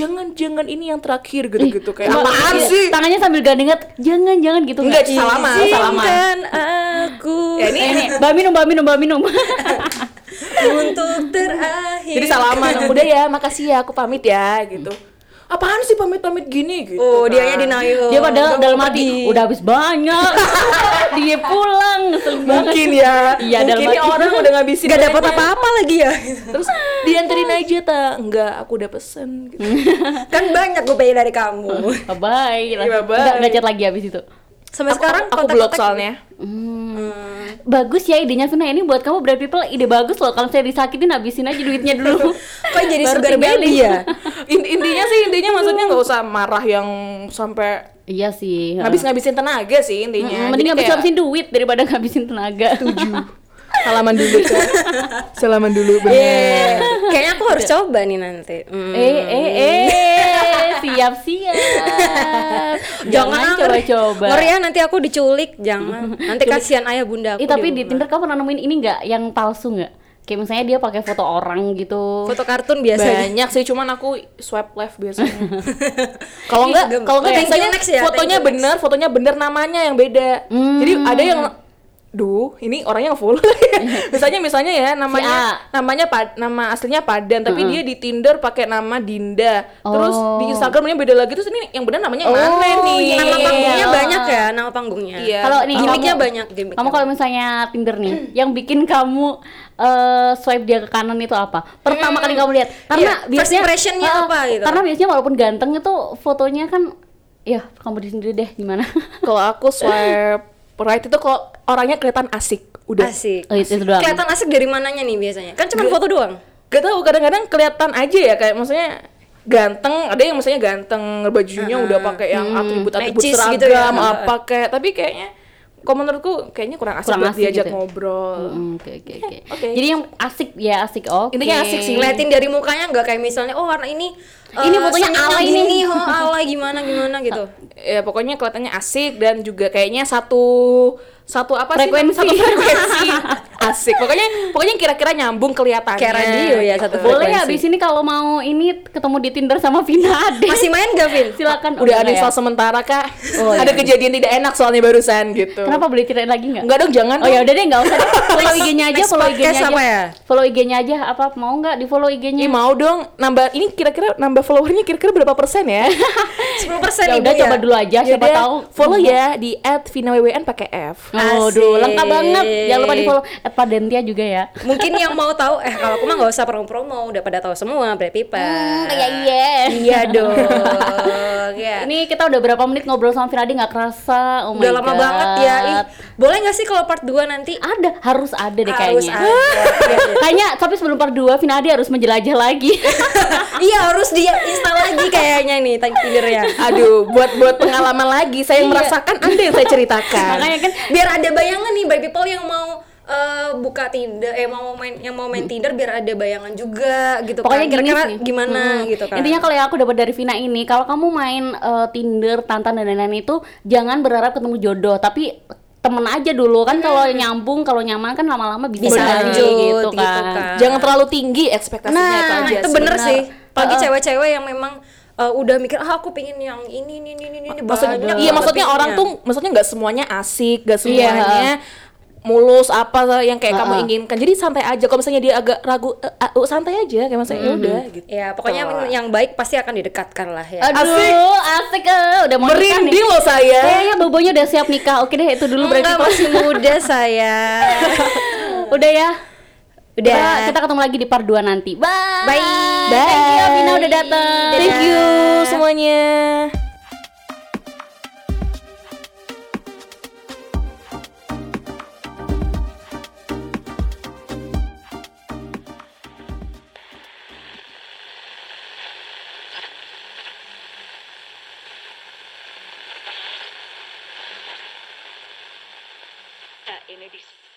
Speaker 3: jangan jangan ini yang terakhir gitu gitu kayak
Speaker 2: Cuma-
Speaker 3: apaan
Speaker 2: iya,
Speaker 3: sih
Speaker 2: Tangannya sambil gandengan, jangan jangan gitu.
Speaker 3: enggak
Speaker 2: nggak?
Speaker 3: salaman
Speaker 2: Iya,
Speaker 3: salaman
Speaker 1: Izinkan aku
Speaker 3: Ya,
Speaker 2: Eh, ini, mbak minum, mbak minum, mbak minum.
Speaker 1: untuk terakhir
Speaker 3: jadi salaman udah ya makasih ya aku pamit ya gitu apaan sih pamit pamit gini gitu
Speaker 1: oh
Speaker 3: kan.
Speaker 1: dianya denial
Speaker 2: Dia padahal
Speaker 1: Udah
Speaker 2: dalam
Speaker 1: mau
Speaker 2: hati
Speaker 1: pergi.
Speaker 2: udah habis banyak. Dia pulang, ngeselin banget.
Speaker 3: mungkin ya
Speaker 2: Iya, dalam
Speaker 3: mungkin nih
Speaker 2: hati.
Speaker 3: orang udah ngabisin
Speaker 1: nggak dapat
Speaker 3: banyak-
Speaker 1: apa-apa lagi ya
Speaker 3: terus dianterin aja tak enggak aku udah pesen gitu.
Speaker 1: kan banyak gue pay dari kamu
Speaker 2: Bye bye.
Speaker 3: Iya, bye-bye.
Speaker 2: Nggak- nggak chat lagi habis itu.
Speaker 1: sampai Nah,
Speaker 3: Aku-
Speaker 1: sekarang
Speaker 3: aku
Speaker 1: kontak-kontak Hmm.
Speaker 3: blok soalnya
Speaker 2: Hmm. Bagus ya idenya Suna ini buat kamu brand people ide bagus loh kalau saya disakitin habisin aja duitnya dulu.
Speaker 1: kok jadi
Speaker 2: Baru
Speaker 1: sugar
Speaker 2: tinggalin.
Speaker 1: baby ya
Speaker 3: In- intinya sih intinya maksudnya nggak usah marah yang sampai
Speaker 2: Iya sih.
Speaker 3: ngabis ngabisin tenaga sih intinya
Speaker 2: Mm-mm, mending
Speaker 3: Jadi
Speaker 2: ngabis
Speaker 3: kayak-
Speaker 2: ngabisin duit daripada ngabisin tenaga.
Speaker 3: salaman dulu kan. Cak. salaman dulu
Speaker 1: Yeay. kayaknya aku harus coba nih nanti Hmm.
Speaker 2: eh eh eh siap siap.
Speaker 1: jangan ah, ngeri.
Speaker 2: coba-coba.
Speaker 1: ngeri ya nanti aku diculik jangan nanti kasihan ayah bunda aku
Speaker 2: Ih, tapi di
Speaker 1: rumah.
Speaker 2: Tinder kamu pernah nemuin ini nggak yang palsu nggak? Kayak misalnya dia pakai foto orang gitu.
Speaker 1: foto kartun biasanya
Speaker 3: Iya, banyak sih cuman aku swipe left biasanya kalau nggak
Speaker 1: Gem.
Speaker 3: kalau nggak
Speaker 1: Thank you
Speaker 3: biasanya
Speaker 1: next ya, thank
Speaker 3: fotonya
Speaker 1: you
Speaker 3: bener fotonya bener namanya yang beda
Speaker 2: Hmm.
Speaker 3: jadi ada yang duh ini orangnya yang full misalnya misalnya ya namanya
Speaker 2: Si
Speaker 3: namanya Pa- nama aslinya Padan tapi dia di Tinder pakai nama Dinda terus
Speaker 2: Oh.
Speaker 3: di Instagramnya beda lagi terus ini yang bener namanya yang mana
Speaker 1: Oh,
Speaker 3: nih
Speaker 1: nama panggungnya
Speaker 2: Iya.
Speaker 1: banyak ya nama panggungnya
Speaker 3: Iya.
Speaker 2: Kalau nih
Speaker 1: gimmicknya
Speaker 2: kamu-
Speaker 1: banyak gimmick
Speaker 2: Kamu kalau misalnya Tinder nih, yang bikin kamu eh, swipe dia ke kanan itu apa? Pertama kali kamu lihat, karena
Speaker 1: Iya, first
Speaker 2: biasanya
Speaker 1: impression-nya
Speaker 2: Ah,
Speaker 1: apa gitu?
Speaker 2: Karena biasanya walaupun ganteng itu fotonya kan, ya kamu di sendiri deh gimana?
Speaker 3: kalau aku swipe right itu kalau orangnya kelihatan asik udah
Speaker 1: asik
Speaker 2: Oh, itu, itu doang.
Speaker 1: kelihatan asik dari mananya nih biasanya kan cuma foto doang
Speaker 3: gak tau kadang-kadang kelihatan aja ya kayak maksudnya ganteng ada yang misalnya ganteng bajunya udah pakai yang atribut-atribut
Speaker 1: Necis
Speaker 3: seragam
Speaker 1: Hmm, gitu ya.
Speaker 3: apa kayak tapi kayaknya kalau menurutku kayaknya kurang asik
Speaker 2: Kurang
Speaker 3: buat
Speaker 2: asik
Speaker 3: diajak
Speaker 2: gitu ya?
Speaker 3: ngobrol
Speaker 1: Hmm.
Speaker 2: Mm, Oke oke oke.
Speaker 3: Oke.
Speaker 2: Jadi yang asik ya asik oke.
Speaker 3: Intinya asik sih.
Speaker 1: ngeliatin dari mukanya nggak kayak misalnya oh warna ini
Speaker 2: Ini fotonya
Speaker 1: ala
Speaker 2: alay nih.
Speaker 1: oh alay gimana gimana gitu
Speaker 3: ya pokoknya kelihatannya asik dan juga kayaknya satu satu apa
Speaker 2: Frekuensi.
Speaker 3: sih satu frekuensi asik pokoknya pokoknya kira-kira nyambung kelihatannya
Speaker 1: Kayak radio ya, satu
Speaker 3: Gitu.
Speaker 2: Boleh
Speaker 1: frekuensi.
Speaker 2: ya abis ini kalau mau ini ketemu di Tinder sama Vina Ade.
Speaker 1: masih main gak Vin?
Speaker 2: Silakan. Oh, enggak
Speaker 3: udah ada
Speaker 2: ya?
Speaker 3: install sementara kak
Speaker 2: Oh, iya.
Speaker 3: ada kejadian tidak enak soalnya barusan gitu
Speaker 2: Kenapa boleh ceritain lagi nggak?
Speaker 3: Enggak dong jangan
Speaker 2: Oh ya udah deh nggak usah deh. follow IG-nya aja,
Speaker 1: Next
Speaker 2: follow IG-nya
Speaker 1: podcast
Speaker 2: aja.
Speaker 1: apa ya? Iya,
Speaker 2: Follow IG-nya aja apa mau nggak di follow IG-nya? Ya
Speaker 3: Ih mau dong nambah ini kira-kira nambah followernya kira-kira berapa persen ya?
Speaker 1: 10%
Speaker 2: Ya udah
Speaker 1: ibu
Speaker 2: coba dulu aja siapa
Speaker 3: Yaudah,
Speaker 2: tahu. Iya.
Speaker 3: follow ya di @vinawwn pakai F.
Speaker 2: Aduh,
Speaker 1: Asik.
Speaker 2: lengkap banget. Jangan lupa di follow @padentia juga ya.
Speaker 1: mungkin yang mau tahu eh kalau aku mah nggak usah promo-promo udah pada tahu semua Brad Pipa
Speaker 2: Iya iya.
Speaker 1: iya dong ya.
Speaker 2: Ini kita udah berapa menit ngobrol sama Firadi nggak kerasa? Oh my
Speaker 1: udah lama
Speaker 2: God.
Speaker 1: banget ya Ih, boleh nggak sih kalau part 2 nanti
Speaker 2: Ada, harus ada deh
Speaker 1: harus
Speaker 2: Ah, iya, kayaknya.
Speaker 1: ada.
Speaker 2: Kayaknya tapi sebelum part 2 Finadi harus menjelajah lagi.
Speaker 1: iya harus dia install lagi kayaknya nih Tinder ya
Speaker 3: Aduh, buat buat pengalaman lagi saya yang merasakan Anda yang saya ceritakan.
Speaker 2: Iya. Makanya kan
Speaker 1: biar ada bayangan nih by people yang mau eh, buka Tinder eh mau main yang mau main Tinder biar ada bayangan juga gitu
Speaker 2: Hmm. Pokoknya
Speaker 1: kan
Speaker 2: gini
Speaker 1: kira-kira
Speaker 2: sih.
Speaker 1: gimana
Speaker 2: Hmm.
Speaker 1: gitu kan
Speaker 2: Intinya kalau yang aku dapat dari Vina ini, kalau kamu main eh, Tinder, Tantan dan lain-lain itu jangan berharap ketemu jodoh, tapi temen aja dulu kan kalau nyambung, kalau nyaman kan lama-lama bisa,
Speaker 1: bisa
Speaker 2: jadi
Speaker 1: lanjut gitu kan,
Speaker 3: Jangan terlalu tinggi ekspektasinya itu
Speaker 1: nah
Speaker 3: aja
Speaker 1: itu
Speaker 3: sih.
Speaker 1: bener
Speaker 2: benar.
Speaker 1: sih apalagi
Speaker 2: Heeh.
Speaker 1: cewek-cewek yang memang eh, udah mikir ah aku pengen yang ini ini ini ini ini
Speaker 3: Maksud-
Speaker 1: banyak
Speaker 3: iya maksudnya
Speaker 1: lebihnya.
Speaker 3: orang tuh maksudnya nggak semuanya
Speaker 2: Iya.
Speaker 3: asik, nggak semuanya mulus apa yang kayak kamu
Speaker 2: Ha-ha.
Speaker 3: inginkan. Jadi santai aja kalau misalnya dia agak ragu eh, ah, oh, santai aja kayak maksudnya
Speaker 2: Hmm.
Speaker 3: ya udah gitu.
Speaker 1: ya pokoknya yang baik pasti akan didekatkan lah ya
Speaker 2: Aduh, asik, eh, udah mau nikah nih.
Speaker 3: Merinding loh saya.
Speaker 2: Kayaknya bobonya udah siap nikah. Oke deh, itu dulu berarti.
Speaker 1: Enggak masih muda saya
Speaker 2: Udah ya.
Speaker 1: Udah.
Speaker 2: Kita, kita ketemu lagi di part 2 nanti. Bye.
Speaker 1: Bye.
Speaker 2: Thank you Vina udah datang.
Speaker 3: Thank you semuanya.
Speaker 4: Tak, ini dis.